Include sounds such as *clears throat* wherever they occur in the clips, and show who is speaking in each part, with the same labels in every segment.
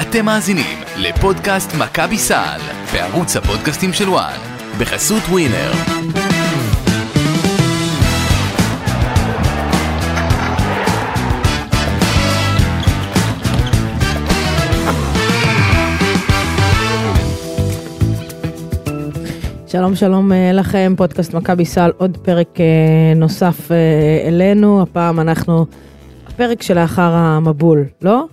Speaker 1: אתם מאזינים לפודקאסט מכבי סל בערוץ הפודקאסטים של וואן בחסות ווינר.
Speaker 2: שלום שלום אה, לכם, פודקאסט מכבי סל, עוד פרק אה, נוסף אה, אלינו, הפעם אנחנו, הפרק שלאחר המבול, לא?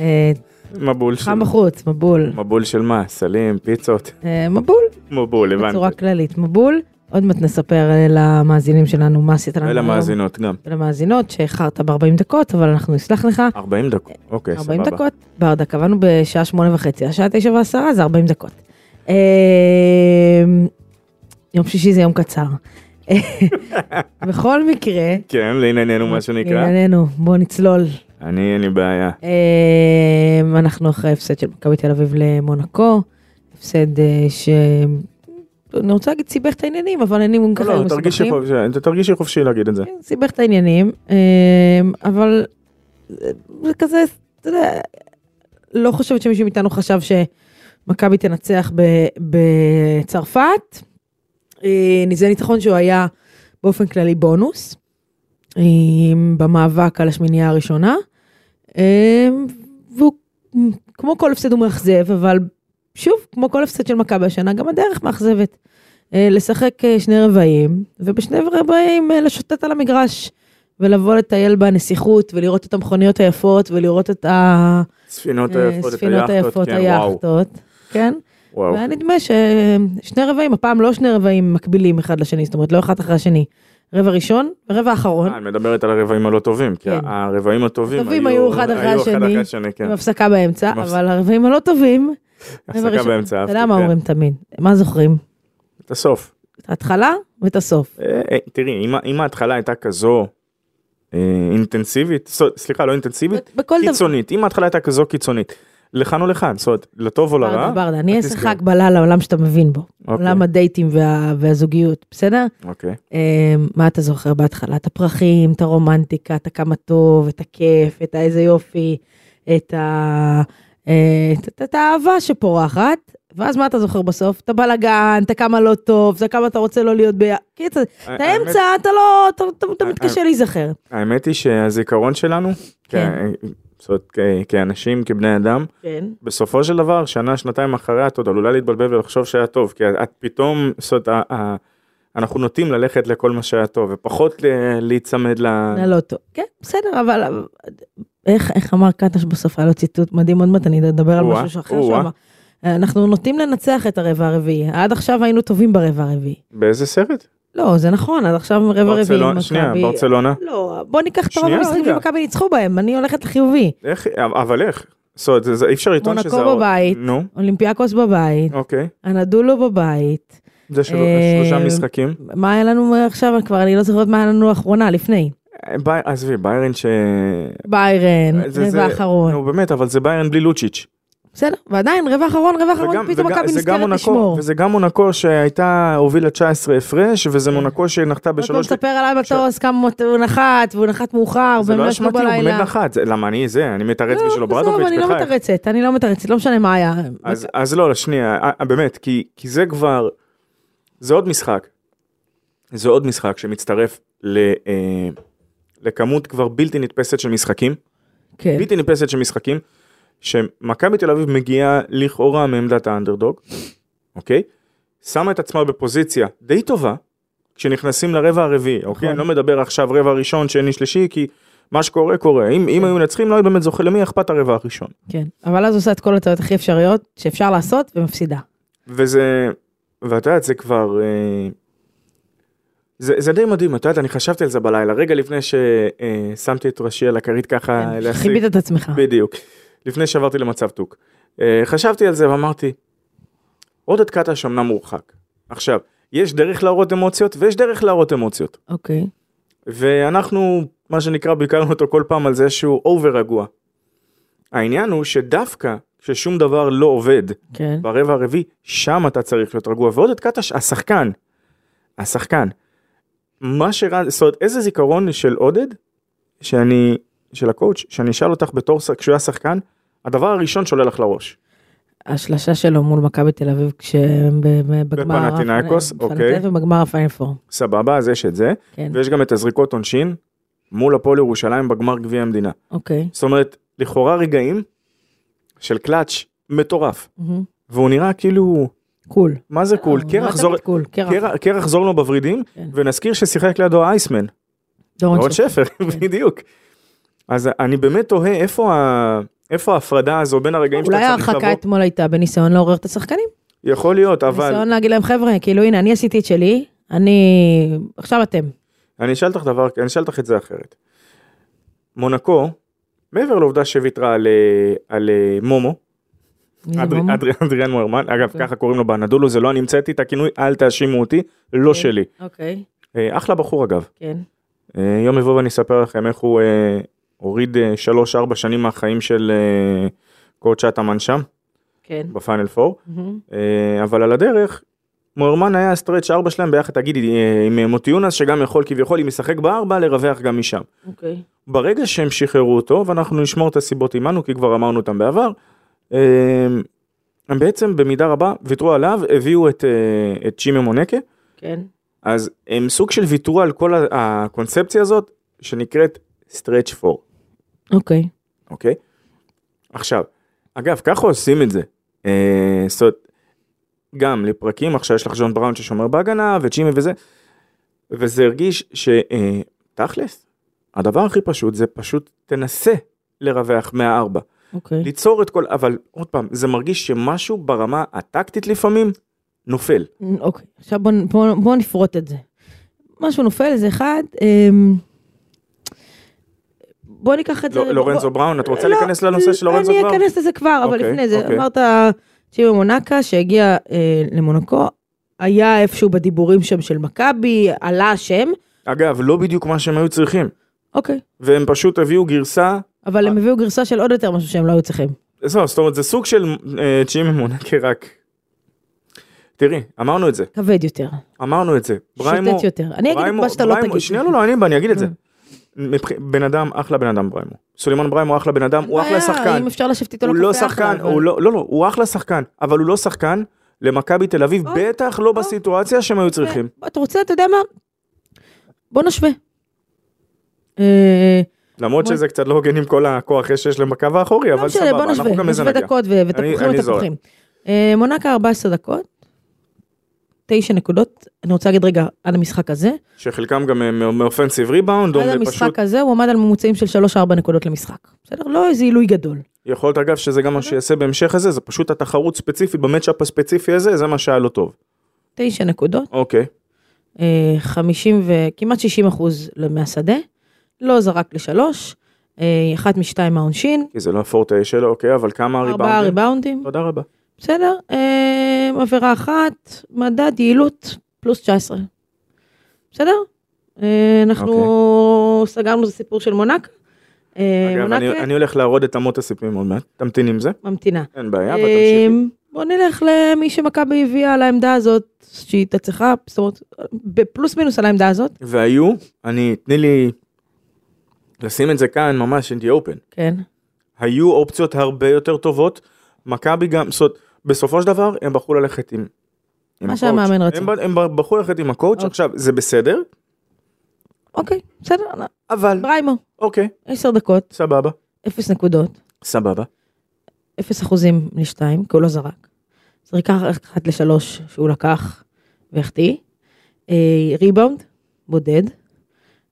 Speaker 2: אה,
Speaker 3: מבול של...
Speaker 2: חם בחוץ, מבול.
Speaker 3: מבול של מה? סלים, פיצות?
Speaker 2: אה, מבול,
Speaker 3: מבול, הבנתי.
Speaker 2: בצורה כללית, מבול. עוד מעט נספר אה, למאזינים שלנו מה עשית לנו. היום.
Speaker 3: ולמאזינות לא, גם.
Speaker 2: ולמאזינות, שאיחרת ב-40 דקות, אבל אנחנו נסלח לך.
Speaker 3: 40 דקות, אוקיי,
Speaker 2: 40
Speaker 3: סבבה.
Speaker 2: דקות, ברדה, קבענו בשעה שמונה וחצי, השעה תשע ועשרה זה 40 דקות. אה, יום שישי זה יום קצר. אה, בכל מקרה,
Speaker 3: כן, לענייננו
Speaker 2: אוקיי,
Speaker 3: מה שנקרא.
Speaker 2: לענייננו, בוא נצלול.
Speaker 3: אני, אין לי בעיה.
Speaker 2: אה, אנחנו אחרי הפסד של מכבי תל אביב למונקו, הפסד אה, ש... אני רוצה להגיד סיבך את העניינים, אבל העניינים ככה
Speaker 3: לא,
Speaker 2: היו
Speaker 3: תרגישי
Speaker 2: מסובכים.
Speaker 3: חופשי- תרגישי חופשי להגיד את זה.
Speaker 2: כן, סיבך את העניינים, אה, אבל זה- זה כזה, אתה יודע, לא חושבת שמישהו מאיתנו חשב שמכבי תנצח ב- בצרפת. אה, זה ניצחון שהוא היה באופן כללי בונוס, אה, במאבק על השמינייה הראשונה. אה, והוא, כמו כל הפסד הוא מאכזב, אבל שוב, כמו כל הפסד של מכבי השנה, גם הדרך מאכזבת. אה, לשחק אה, שני רבעים, ובשני רבעים אה, לשוטט על המגרש, ולבוא לטייל בנסיכות, ולראות את המכוניות היפות, ולראות את
Speaker 3: ספינות היפות, את
Speaker 2: הספינות
Speaker 3: היאכטות,
Speaker 2: אה, היפות,
Speaker 3: כן, וואו.
Speaker 2: היאכטות, כן?
Speaker 3: וואו.
Speaker 2: והיה נדמה ששני רבעים, הפעם לא שני רבעים מקבילים אחד לשני, זאת אומרת לא אחד אחרי השני. רבע ראשון ורבע אחרון,
Speaker 3: אה, את מדברת על הרבעים הלא טובים, כי
Speaker 2: כן.
Speaker 3: הרבעים הטובים
Speaker 2: הטובים היו אחד אחרי
Speaker 3: היו אחד
Speaker 2: השני.
Speaker 3: אחרי השני, כן.
Speaker 2: עם הפסקה באמצע,
Speaker 3: עם הפס-
Speaker 2: אבל הרבעים הלא טובים, רבע
Speaker 3: הפסקה
Speaker 2: ראשון.
Speaker 3: באמצע,
Speaker 2: אתה
Speaker 3: אהבתי,
Speaker 2: יודע מה
Speaker 3: כן.
Speaker 2: אומרים תמיד, מה זוכרים?
Speaker 3: את הסוף.
Speaker 2: את ההתחלה ואת הסוף.
Speaker 3: אה, אה, תראי, אם ה- אם ההתחלה הייתה כזו אה, אינטנסיבית, סו- סליחה, לא אינטנסיבית,
Speaker 2: בכל דבר.
Speaker 3: קיצונית, אם ההתחלה הייתה כזו קיצונית, לכאן או לכאן, זאת אומרת, לטוב או
Speaker 2: ברדה,
Speaker 3: לרע,
Speaker 2: ברדה, אני
Speaker 3: את
Speaker 2: אעשה לך
Speaker 3: תזכרי.
Speaker 2: הקבלה לעולם שאתה מבין בו.
Speaker 3: אוקיי.
Speaker 2: עולם הדייטים וה- והזוגיות, בסדר?
Speaker 3: אוקיי,
Speaker 2: אה, מה אתה זוכר בהתחלה? את הפרחים, את הרומנטיקה, את הכמה טוב, את הכיף, את האיזה יופי, את ה- אה, את- את- את האהבה שפורחת, ואז מה אתה זוכר בסוף? את הבלאגן, את הכמה לא טוב, את הכמה אתה רוצה לא להיות ביחד. קיצר, את
Speaker 3: האמת-
Speaker 2: האמצע אתה לא, אתה- אתה- אתה
Speaker 3: אה,
Speaker 2: מתקשה להיזכר.
Speaker 3: האמת היא שהזיכרון שלנו,
Speaker 2: כן.
Speaker 3: כ- זאת אומרת, כ- כאנשים, כבני אדם,
Speaker 2: כן.
Speaker 3: בסופו של דבר, שנה, שנתיים אחריה, את עוד עלולה להתבלבל ולחשוב שהיה טוב, כי את פתאום, זאת אומרת, ה- ה- אנחנו נוטים ללכת לכל מה שהיה טוב, ופחות ל- להיצמד ל...
Speaker 2: ללוטו. כן, בסדר, אבל איך, איך אמר קטש בסוף, היה לו ציטוט מדהים, עוד מעט אני אדבר על
Speaker 3: או-אה,
Speaker 2: משהו שאחר
Speaker 3: או-אה.
Speaker 2: שהוא אמר. אנחנו נוטים לנצח את הרבע הרביעי, עד עכשיו היינו טובים ברבע הרביעי.
Speaker 3: באיזה סרט?
Speaker 2: לא, זה נכון, עד עכשיו רבע רביעי
Speaker 3: ברצלונה,
Speaker 2: מכבי...
Speaker 3: שנייה, ברצלונה.
Speaker 2: לא, בוא ניקח את הרוב
Speaker 3: שנייה,
Speaker 2: המשחקים
Speaker 3: רגע.
Speaker 2: שמכבי ניצחו בהם, אני הולכת לחיובי.
Speaker 3: איך, אבל איך? זאת אומרת, זה- זה- אי אפשר לטעון
Speaker 2: מונקו
Speaker 3: שזה... ה-
Speaker 2: בבית.
Speaker 3: נו,
Speaker 2: אולימפיאקוס בבית,
Speaker 3: אוקיי.
Speaker 2: הנדולו בבית,
Speaker 3: זה של...
Speaker 2: אה,
Speaker 3: שלושה משחקים.
Speaker 2: מה היה לנו עכשיו כבר, אני לא זוכרת מה היה לנו לאחרונה, לפני.
Speaker 3: אה, ביי- עזבי, ביירן ש...
Speaker 2: ביירן,
Speaker 3: זה- זה-
Speaker 2: רבע אחרון.
Speaker 3: נו באמת, אבל זה ביירן בלי לוצ'יץ'.
Speaker 2: בסדר, ועדיין, רבע אחרון, רבע
Speaker 3: וגם-
Speaker 2: אחרון, פתאום
Speaker 3: וגם-
Speaker 2: מכבי
Speaker 3: זה גם
Speaker 2: נזכרת
Speaker 3: מונקו-
Speaker 2: לשמור.
Speaker 3: וזה גם מונקו שהייתה, הובילה 19 הפרש,
Speaker 2: כן.
Speaker 3: וזה מונקו שנחתה
Speaker 2: עוד פעם
Speaker 3: בשלוש...
Speaker 2: תספר עליי מטוס כמה הוא נחת, והוא נחת מאוחר,
Speaker 3: זה
Speaker 2: והם
Speaker 3: לא
Speaker 2: לא
Speaker 3: אשמתי,
Speaker 2: ישנו
Speaker 3: הוא באמת
Speaker 2: בלילה.
Speaker 3: נחת. זה- למה אני זה? אני מתרץ
Speaker 2: לא,
Speaker 3: בשבילו
Speaker 2: עזוב,
Speaker 3: ברדוביץ',
Speaker 2: אני לא
Speaker 3: בחייך.
Speaker 2: מתרצת, אני לא מתרצת, לא משנה מה היה.
Speaker 3: אז- אז לא, שנייה, אה, באמת, כי כי זה כבר... זה עוד משחק. זה עוד משחק שמצטרף ל... אה, לכמות כבר בלתי נתפסת של משחקים.
Speaker 2: כן,
Speaker 3: בלתי נתפסת של משחקים, שמכבי תל אביב מגיעה לכאורה מעמדת האנדרדוג, אוקיי? שמה את עצמה בפוזיציה די טובה, כשנכנסים לרבע הרביעי,
Speaker 2: נכון.
Speaker 3: אוקיי? אני לא מדבר עכשיו רבע ראשון, שני, שלישי, כי מה שקורה קורה. אם, אם היו מנצחים לא היו באמת זוכה, למי אכפת הרבע הראשון?
Speaker 2: כן. אבל אז עושה את כל הטעויות הכי אפשריות שאפשר לעשות, ומפסידה.
Speaker 3: וזה, ואת יודעת, זה כבר... אה, זה, זה די מדהים, את יודעת, אני חשבתי על זה בלילה, רגע לפני ששמתי את ראשי על הכרית ככה,
Speaker 2: כן,
Speaker 3: להשיג-
Speaker 2: חיבית את עצמך.
Speaker 3: בדיוק. לפני שעברתי למצב תוק. אה, חשבתי על זה ואמרתי, עודד קטש אמנם מורחק. עכשיו, יש דרך להראות אמוציות ויש דרך להראות אמוציות.
Speaker 2: אוקיי.
Speaker 3: ואנחנו, מה שנקרא, ביקרנו אותו כל פעם על זה שהוא אובר רגוע. העניין הוא שדווקא כששום דבר לא עובד
Speaker 2: כן.
Speaker 3: ברבע הרביעי, שם אתה צריך להיות רגוע. ועודד קטש, השחקן, השחקן, מה שרן, זאת אומרת, איזה זיכרון של עודד, שאני, של הקואוץ', שאני אשאל אותך בתור, שח- כשהוא היה שחקן, הדבר הראשון שעולה לך לראש.
Speaker 2: השלשה שלו מול מכבי תל אביב כשהם ב- בגמר...
Speaker 3: בפנתינייקוס,
Speaker 2: הפנ-
Speaker 3: אוקיי.
Speaker 2: פנתינייקוס ובגמר הפיינל פור,
Speaker 3: סבבה, אז יש את זה.
Speaker 2: כן,
Speaker 3: ויש גם את הזריקות עונשין מול הפועל ירושלים בגמר גביע המדינה.
Speaker 2: אוקיי.
Speaker 3: זאת אומרת, לכאורה רגעים של קלאץ' מטורף.
Speaker 2: מהמם.
Speaker 3: והוא נראה כאילו,
Speaker 2: קול.
Speaker 3: מה זה קול?
Speaker 2: אה,
Speaker 3: קרח
Speaker 2: מה זה
Speaker 3: זור-
Speaker 2: קול? קרח.
Speaker 3: קרח- קרח זור לו בוורידים,
Speaker 2: כן.
Speaker 3: ונזכיר ששיחק לידו אייסמן.
Speaker 2: דורון
Speaker 3: רון
Speaker 2: שפר.
Speaker 3: שפר, בדיוק. אז אני באמת תוהה איפה ה- איפה ההפרדה הזו בין הרגעים
Speaker 2: אולי
Speaker 3: שאתה צריך
Speaker 2: ההרחקה
Speaker 3: לבוא.
Speaker 2: אתמול הייתה בניסיון לעורר את השחקנים.
Speaker 3: יכול להיות, אבל
Speaker 2: ניסיון להגיד להם, חבר'ה, כאילו, הנה, אני עשיתי את שלי, אני... עכשיו אתם.
Speaker 3: אני אשאל אותך דבר, אני אשאל אותך את זה אחרת. מונקו, מעבר לעובדה שוויתרה על, אה, על אה, מומו,
Speaker 2: מי זה
Speaker 3: אדר-
Speaker 2: מומו?
Speaker 3: אדר- אדריאן מוהרמן, אגב
Speaker 2: כן.
Speaker 3: ככה קוראים לו באנדולו, זה לא אני המצאתי את הכינוי, אל תאשימו אותי, לא
Speaker 2: כן.
Speaker 3: שלי.
Speaker 2: אוקיי,
Speaker 3: אה, אחלה בחור אגב.
Speaker 2: כן.
Speaker 3: אה, יום יבוא ואני אספר לכם איך הוא אה, הוריד אה, שלוש ארבע שנים מהחיים של אה, קורט שטאמן שם,
Speaker 2: כן.
Speaker 3: בפיינל פור.
Speaker 2: מהמם.
Speaker 3: אה, אבל על הדרך, מוהרמן היה הסטרץ' ארבע שלהם ביחד, תגידי, אה, עם אה, מוטי יונס שגם יכול כביכול, אם ישחק בארבע, לרווח גם משם.
Speaker 2: אוקיי.
Speaker 3: ברגע שהם שחררו אותו, ואנחנו נשמור את הסיבות עמנו, כי כבר אמרנו אותם בעבר, אה, הם בעצם במידה רבה ויתרו עליו, הביאו את, אה, את צ'ימי מונקה,
Speaker 2: כן.
Speaker 3: אז הם סוג של ויתרו על כל ה- הקונספציה הזאת, שנקראת stretch for,
Speaker 2: אוקיי.
Speaker 3: אוקיי? עכשיו, אגב, ככה עושים את זה. אה, זאת אומרת, גם לפרקים, עכשיו יש לך ג'ון בראון ששומר בהגנה, וצ'ימי וזה, וזה הרגיש שתכלס, הדבר הכי פשוט זה פשוט תנסה לרווח מהארבע.
Speaker 2: אוקיי.
Speaker 3: ליצור את כל, אבל עוד פעם, זה מרגיש שמשהו ברמה הטקטית לפעמים נופל.
Speaker 2: אוקיי, עכשיו בואו בוא, בוא נפרוט את זה. משהו נופל זה אחד, אמ, בוא ניקח את
Speaker 3: לא-
Speaker 2: זה.
Speaker 3: לורנזו
Speaker 2: בוא,
Speaker 3: בראון, את
Speaker 2: לא,
Speaker 3: רוצה להיכנס לנושא של לורנזו
Speaker 2: אני
Speaker 3: בראון?
Speaker 2: אכנס לזה כבר, אבל
Speaker 3: אוקיי,
Speaker 2: לפני זה,
Speaker 3: אוקיי.
Speaker 2: אמרת צ'יבו מונקה שהגיע אה, למונקו, היה איפשהו בדיבורים שם של מכבי, עלה השם,
Speaker 3: אגב, לא בדיוק מה שהם היו צריכים,
Speaker 2: אוקיי,
Speaker 3: והם פשוט הביאו גרסה,
Speaker 2: אבל
Speaker 3: אה.
Speaker 2: הם הביאו גרסה של עוד יותר משהו שהם לא היו צריכים.
Speaker 3: זהו, זאת אומרת, זה סוג של אה, צ'ימי מונקה רק. תראי, אמרנו את זה,
Speaker 2: כבד יותר,
Speaker 3: אמרנו את זה. בריימו,
Speaker 2: שוטט יותר. אני אגיד את
Speaker 3: בריימו-
Speaker 2: מה שאתה לא
Speaker 3: בריימו-
Speaker 2: תגיד.
Speaker 3: שנייה, לא, לא, אני, אני אגיד את זה.
Speaker 2: Mm.
Speaker 3: מבח- בן אדם, אחלה בן אדם בריימו. סולימון בריימו אחלה בן אדם,
Speaker 2: אין
Speaker 3: הוא אחלה
Speaker 2: בעיה,
Speaker 3: שחקן.
Speaker 2: אה, אם אפשר לשבת איתו
Speaker 3: הוא לא
Speaker 2: לקפה אחלה,
Speaker 3: שחקן,
Speaker 2: אבל-
Speaker 3: הוא לא, לא, לא, הוא אחלה שחקן, אבל הוא לא שחקן למכבי תל אביב,
Speaker 2: או,
Speaker 3: בטח לא בסיטואציה שהם היו צריכים.
Speaker 2: אה, אתה רוצה, אתה יודע מה? בוא נשווה. אה,
Speaker 3: למרות
Speaker 2: בוא-
Speaker 3: שזה קצת לא הוגן עם כל הכוח יש שיש להם בקו האחורי,
Speaker 2: לא
Speaker 3: אבל
Speaker 2: משנה,
Speaker 3: סבבה,
Speaker 2: בוא
Speaker 3: אנחנו
Speaker 2: נשווה,
Speaker 3: גם לזה
Speaker 2: נשווה
Speaker 3: נגיע.
Speaker 2: דקות ו- ותפוחים
Speaker 3: אני
Speaker 2: ותפוחים. אה, מונקה 14 דקות, 9 נקודות, אני רוצה להגיד רגע על המשחק הזה,
Speaker 3: שחלקם גם אה, מ- מאופנסיב ריבאונד,
Speaker 2: עד
Speaker 3: ופשוט
Speaker 2: המשחק הזה הוא עמד על ממוצעים של 3-4 נקודות למשחק, בסדר? לא איזה עילוי גדול.
Speaker 3: יכול להיות אגב שזה גם מה שיעשה בהמשך הזה, זה פשוט התחרות ספציפית במצ'אפ הספציפי הזה, זה מה שהיה לו טוב.
Speaker 2: 9 נקודות,
Speaker 3: אוקיי,
Speaker 2: אה, 50 וכמעט 60 אחוז מהשדה, לא זרק לשלוש, אה, אחת משתיים מהעונשין,
Speaker 3: כי זה לא הפורטה שלו, אוקיי, אבל כמה
Speaker 2: ארבעה
Speaker 3: ריבאונדים?
Speaker 2: ריבאונדים,
Speaker 3: תודה רבה.
Speaker 2: בסדר, אה, עבירה אחת, מדד יעילות פלוס 19. בסדר? אה, אנחנו סגרנו את הסיפור של מונק. אה,
Speaker 3: אוקיי. אגב,
Speaker 2: מונק
Speaker 3: אני- אני הולך להרוד את אמות הסיפים עוד מעט, תמתין עם זה,
Speaker 2: ממתינה.
Speaker 3: אין בעיה, אבל
Speaker 2: אה,
Speaker 3: תמשיכי.
Speaker 2: בוא נלך למי שמכבי הביאה על העמדה הזאת, שהיא הייתה צריכה, זאת אומרת, בפלוס מינוס על העמדה הזאת.
Speaker 3: והיו, אני, תני לי לשים את זה כאן ממש in the open.
Speaker 2: כן.
Speaker 3: היו אופציות הרבה יותר טובות. מכבי גם, זאת אומרת, בסופו של דבר הם בחרו ללכת עם... עם
Speaker 2: מה
Speaker 3: הקואוצ'.
Speaker 2: שהמאמן רצה.
Speaker 3: הם ב- הם ב- בחרו ללכת עם הקואוצ'
Speaker 2: אוקיי.
Speaker 3: עכשיו, זה בסדר,
Speaker 2: אוקיי, בסדר.
Speaker 3: אבל
Speaker 2: בריימו,
Speaker 3: אוקיי,
Speaker 2: 10 דקות,
Speaker 3: סבבה,
Speaker 2: 0 נקודות.
Speaker 3: סבבה.
Speaker 2: 0 אחוזים לשתיים, כי הוא לא זרק. זריקה אחת לשלוש שהוא לקח והחטיא. אה, ריבאונד, בודד.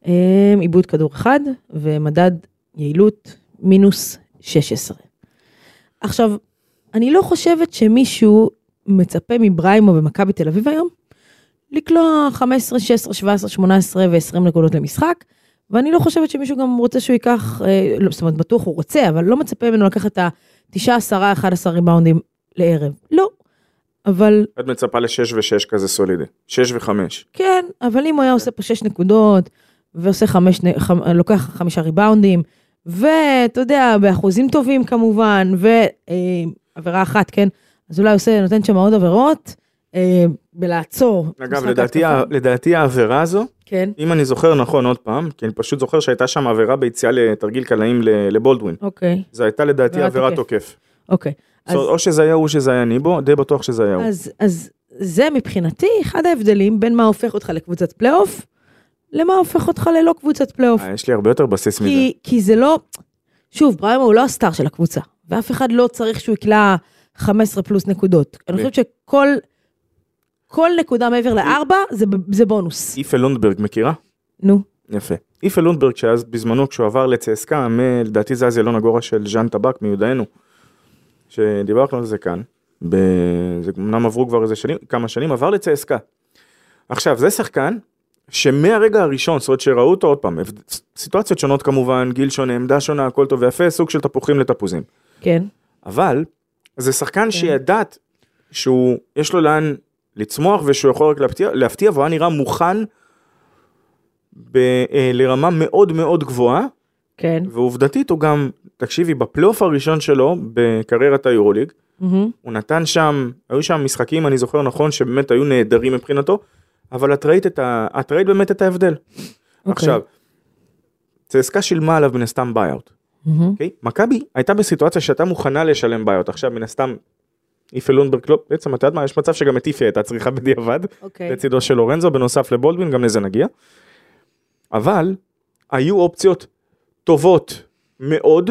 Speaker 2: אה, עיבוד כדור אחד, ומדד יעילות מינוס 16. עכשיו, אני לא חושבת שמישהו מצפה מבריימו במכבי תל אביב היום לקלוע 15, 16, 17, 18 ו-20 נקודות למשחק, ואני לא חושבת שמישהו גם רוצה שהוא ייקח, אה, לא, זאת אומרת, בטוח הוא רוצה, אבל לא מצפה ממנו לקחת את ה-9, 10, 11 ריבאונדים לערב. לא, אבל
Speaker 3: את מצפה לשש ושש כזה סולידי, שש וחמש.
Speaker 2: כן, אבל אם הוא היה עושה פה 6 נקודות, ועושה חמש, נ- חמ, לוקח חמישה ריבאונדים, ואתה יודע, באחוזים טובים כמובן, ועבירה אחת, כן? אז אולי עושה, נותן שם עוד עבירות, אה, בלעצור.
Speaker 3: אגב,
Speaker 2: משחק
Speaker 3: לדעתי,
Speaker 2: ההתקפה.
Speaker 3: ה- לדעתי העבירה הזו,
Speaker 2: כן,
Speaker 3: אם אני זוכר נכון עוד פעם, כי אני פשוט זוכר שהייתה שם עבירה ביציאה לתרגיל קלעים ל- לבולדווין.
Speaker 2: אוקיי,
Speaker 3: זו הייתה לדעתי
Speaker 2: עבירת
Speaker 3: עבירת תוקף.
Speaker 2: אוקיי.
Speaker 3: אז... או שזה היה הוא שזה היה ניבו, די בטוח שזה היה הוא.
Speaker 2: אז, אז זה מבחינתי אחד ההבדלים בין מה הופך אותך לקבוצת פלייאוף, למה הופך אותך ללא קבוצת פלייאוף.
Speaker 3: אה, יש לי הרבה יותר בסיס מזה.
Speaker 2: כי, כי זה לא, שוב, בריאמה הוא לא הסטאר של הקבוצה, ואף אחד לא צריך שהוא יקלע 15 פלוס נקודות. אני
Speaker 3: ב-
Speaker 2: חושבת שכל כל נקודה מעבר לארבע זה, ב- זה בונוס.
Speaker 3: איפה לונדברג מכירה?
Speaker 2: נו,
Speaker 3: יפה. איפה לונדברג שאז בזמנו כשהוא עבר לצסקה, מ- לדעתי זה היה זילון הגורה של ז'אן טבק מיודענו, שדיברנו על זה כאן, ב... זה אמנם עברו כבר איזה שנים, כמה שנים, עבר לצסקה. עכשיו זה שחקן שמהרגע הראשון, זאת אומרת שראו אותו עוד פעם, הבד- סיטואציות שונות כמובן, גיל שונה, עמדה שונה, הכל טוב ויפה, סוג של תפוחים לתפוזים.
Speaker 2: כן,
Speaker 3: אבל זה שחקן שידעת שהוא, יש לו לאן לצמוח ושהוא יכול רק להפתיע, להפתיע והוא היה נראה מוכן ב, אה, לרמה מאוד מאוד גבוהה,
Speaker 2: כן.
Speaker 3: ועובדתית הוא גם, תקשיבי, בפלייאוף הראשון שלו בקריירת היורוליג,
Speaker 2: מהמם.
Speaker 3: הוא נתן שם, היו שם משחקים, אני זוכר נכון, שבאמת היו נהדרים מבחינתו, אבל את ראית, את ה, את ראית באמת את ההבדל. Okay. עכשיו, צסקה שילמה עליו מן הסתם ביי-אוט.
Speaker 2: מהמם.
Speaker 3: אוקיי? מכבי הייתה בסיטואציה שהייתה מוכנה לשלם בעיות. עכשיו מן הסתם, איפה לונדברג לא, בעצם את יודעת מה, יש מצב שגם את איפה הייתה צריכה בדיעבד,
Speaker 2: אוקיי.
Speaker 3: לצידו של לורנזו, בנוסף לבולדווין, גם לזה נגיע. אבל, היו אופציות טובות מאוד,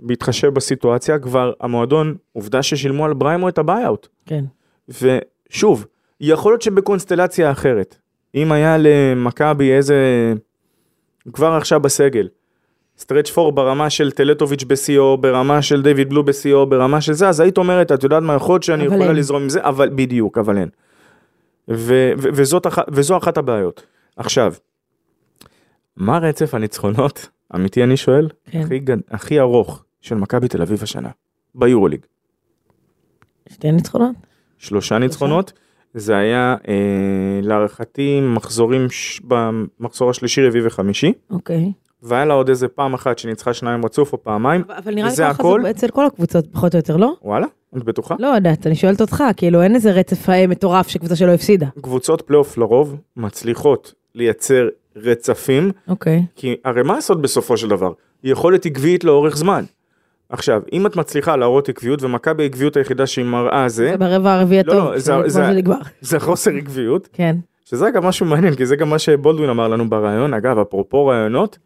Speaker 3: בהתחשב בסיטואציה, כבר המועדון, עובדה ששילמו על בריימו את הבייאאוט.
Speaker 2: כן.
Speaker 3: ושוב, יכול להיות שבקונסטלציה אחרת, אם היה למכבי איזה, כבר עכשיו בסגל, סטרץ' פור ברמה של טלטוביץ' בשיאו, ברמה של דיוויד בלו בשיאו, ברמה של זה, אז היית אומרת, את יודעת מה, יכול להיות שאני
Speaker 2: אבל
Speaker 3: יכולה
Speaker 2: אין.
Speaker 3: לזרום עם זה, אבל בדיוק, אבל אין. ו- ו- וזאת אח- וזו אחת הבעיות. עכשיו, מה רצף הניצחונות, אמיתי אני שואל,
Speaker 2: כן.
Speaker 3: הכי, גד- הכי ארוך של מכבי תל אביב השנה, ביורוליג?
Speaker 2: שתי ניצחונות?
Speaker 3: שלושה ניצחונות. זה היה אה, להערכתי מחזורים ש... במחזור השלישי, רביעי וחמישי,
Speaker 2: אוקיי.
Speaker 3: והיה לה עוד איזה פעם אחת שניצחה שניים רצוף או פעמיים,
Speaker 2: אבל- אבל נראה לי
Speaker 3: וזה
Speaker 2: ככה
Speaker 3: הכל?
Speaker 2: זה אצל כל הקבוצות, פחות או יותר, לא?
Speaker 3: וואלה, את בטוחה?
Speaker 2: לא יודעת, אני שואלת אותך, כאילו אין איזה רצף אה, מטורף שקבוצה שלא הפסידה.
Speaker 3: קבוצות פלייאוף לרוב מצליחות לייצר רצפים,
Speaker 2: אוקיי.
Speaker 3: כי הרי מה לעשות בסופו של דבר? יכולת עקבית לאורך זמן. עכשיו, אם את מצליחה להראות עקביות, ומכבי העקביות היחידה שהיא מראה זה,
Speaker 2: זה ברבע הרביעי
Speaker 3: לא,
Speaker 2: הטוב,
Speaker 3: לא, זה-
Speaker 2: כבר
Speaker 3: זה-
Speaker 2: זה נגמר.
Speaker 3: זה חוסר עקביות,
Speaker 2: כן.
Speaker 3: שזה אגב משהו מעניין, כי זה גם מה שבולדווין אמר לנו בריאיון, אגב, אפרופו ראיונות,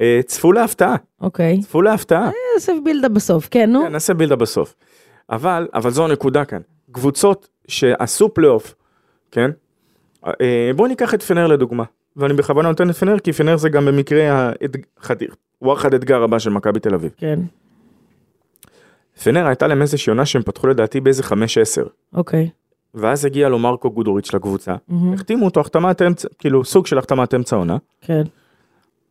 Speaker 3: אה, צפו להפתעה,
Speaker 2: אוקיי.
Speaker 3: צפו להפתעה,
Speaker 2: נעשה בילדה בסוף, כן, נו.
Speaker 3: כן, נעשה בילדה בסוף. אבל, אבל זו הנקודה כאן, קבוצות שעשו פלייאוף, כן? אה, בואו ניקח את פנר לדוגמה, ואני בכוונה נותן את פנר, כי פנר זה גם במקרה, האתג- חתיך- וואחד אתגר הבא של מכבי תל אביב.
Speaker 2: כן.
Speaker 3: פנר הייתה להם איזושהי עונה שהם פתחו לדעתי באיזה 5-10,
Speaker 2: אוקיי.
Speaker 3: ואז הגיע לו מרקו גודוריץ' לקבוצה,
Speaker 2: מהמם.
Speaker 3: החתימו אותו החתמת אמצע, כאילו סוג של החתמת אמצע עונה.
Speaker 2: כן.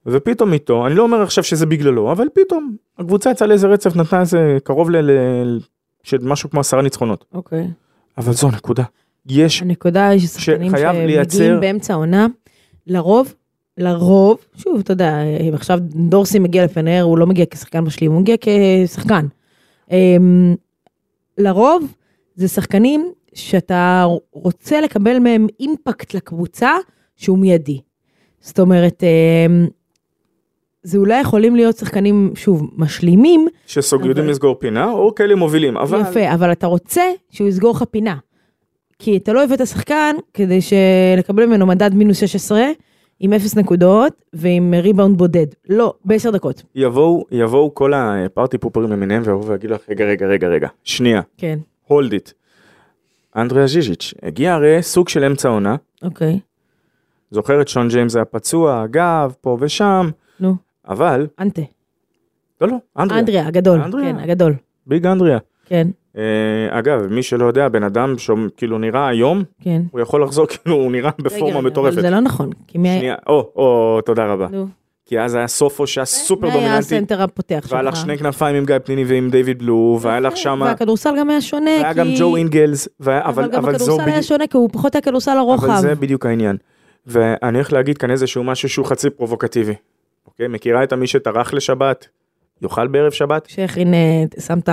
Speaker 3: ופתאום איתו, אני לא אומר עכשיו שזה בגללו, אבל פתאום הקבוצה יצאה לאיזה רצף, נתנה איזה קרוב ל... ל- של משהו כמו עשרה ניצחונות.
Speaker 2: אוקיי.
Speaker 3: אבל זו נקודה. יש,
Speaker 2: הנקודה היא ששחקנים
Speaker 3: שחייב
Speaker 2: שמגיעים
Speaker 3: לייצר-
Speaker 2: באמצע העונה, לרוב, לרוב, שוב, אתה יודע, אם עכשיו דורסי מגיע לפנר, הוא לא מגיע כשחקן משלים, הוא מגיע כשחקן. אמ, לרוב זה שחקנים שאתה רוצה לקבל מהם אימפקט לקבוצה שהוא מיידי. זאת אומרת, אמ, זה אולי יכולים להיות שחקנים, שוב, משלימים,
Speaker 3: שסוג
Speaker 2: אבל-
Speaker 3: יודעים לסגור פינה, או כאלה מובילים, אבל...
Speaker 2: יפה, אבל אתה רוצה שהוא יסגור לך פינה. כי אתה לא הבאת שחקן כדי לקבל ממנו מדד מינוס 16 עם 0 נקודות ועם ריבאונד בודד. לא, ב-10 דקות.
Speaker 3: יבואו, יבואו כל הפארטי פופרים למיניהם ויבואו ויגידו לך, רגע, רגע, רגע, רגע, שנייה,
Speaker 2: כן,
Speaker 3: הולד איט. אנדריה ז'יז'יץ', הגיע הרי סוג של אמצע עונה,
Speaker 2: אוקיי.
Speaker 3: זוכרת שון ג'יימס היה פצוע, אגב, פה ושם,
Speaker 2: נו,
Speaker 3: אבל,
Speaker 2: אנטה.
Speaker 3: לא, לא, אנדריה,
Speaker 2: אנדריה, הגדול.
Speaker 3: אנדריה.
Speaker 2: כן, הגדול.
Speaker 3: ביג אנדריה.
Speaker 2: כן,
Speaker 3: אה, אגב, מי שלא יודע, בן אדם שכאילו נראה היום,
Speaker 2: כן.
Speaker 3: הוא יכול לחזור כאילו הוא נראה
Speaker 2: רגע,
Speaker 3: בפורמה
Speaker 2: רגע,
Speaker 3: מטורפת.
Speaker 2: אבל זה לא נכון. כי מי היה...
Speaker 3: שנייה, או, או, תודה רבה.
Speaker 2: נו,
Speaker 3: כי אז היה סופו שהיה סופר
Speaker 2: מי היה
Speaker 3: דומיננטי,
Speaker 2: הסנטר הפותח שלך?
Speaker 3: והיה לך שני כנפיים עם גיא פניני ועם דיוויד בלו, והיה לך שמה,
Speaker 2: והכדורסל גם היה שונה, כי...
Speaker 3: והיה גם ג'ו אינגלס, והיה-
Speaker 2: אבל
Speaker 3: אבל
Speaker 2: גם
Speaker 3: אבל זו
Speaker 2: הכדורסל היה
Speaker 3: בדיוק,
Speaker 2: שונה, כי הוא פחות היה כדורסל הרוחב.
Speaker 3: אבל זה בדיוק העניין. ואני הולך להגיד כאן איזשהו משהו שהוא חצי פרובוקטיבי. אוקיי, מכירה את המי שטרח לשבת? יאכל בערב שבת?
Speaker 2: שהכין, אה, שם את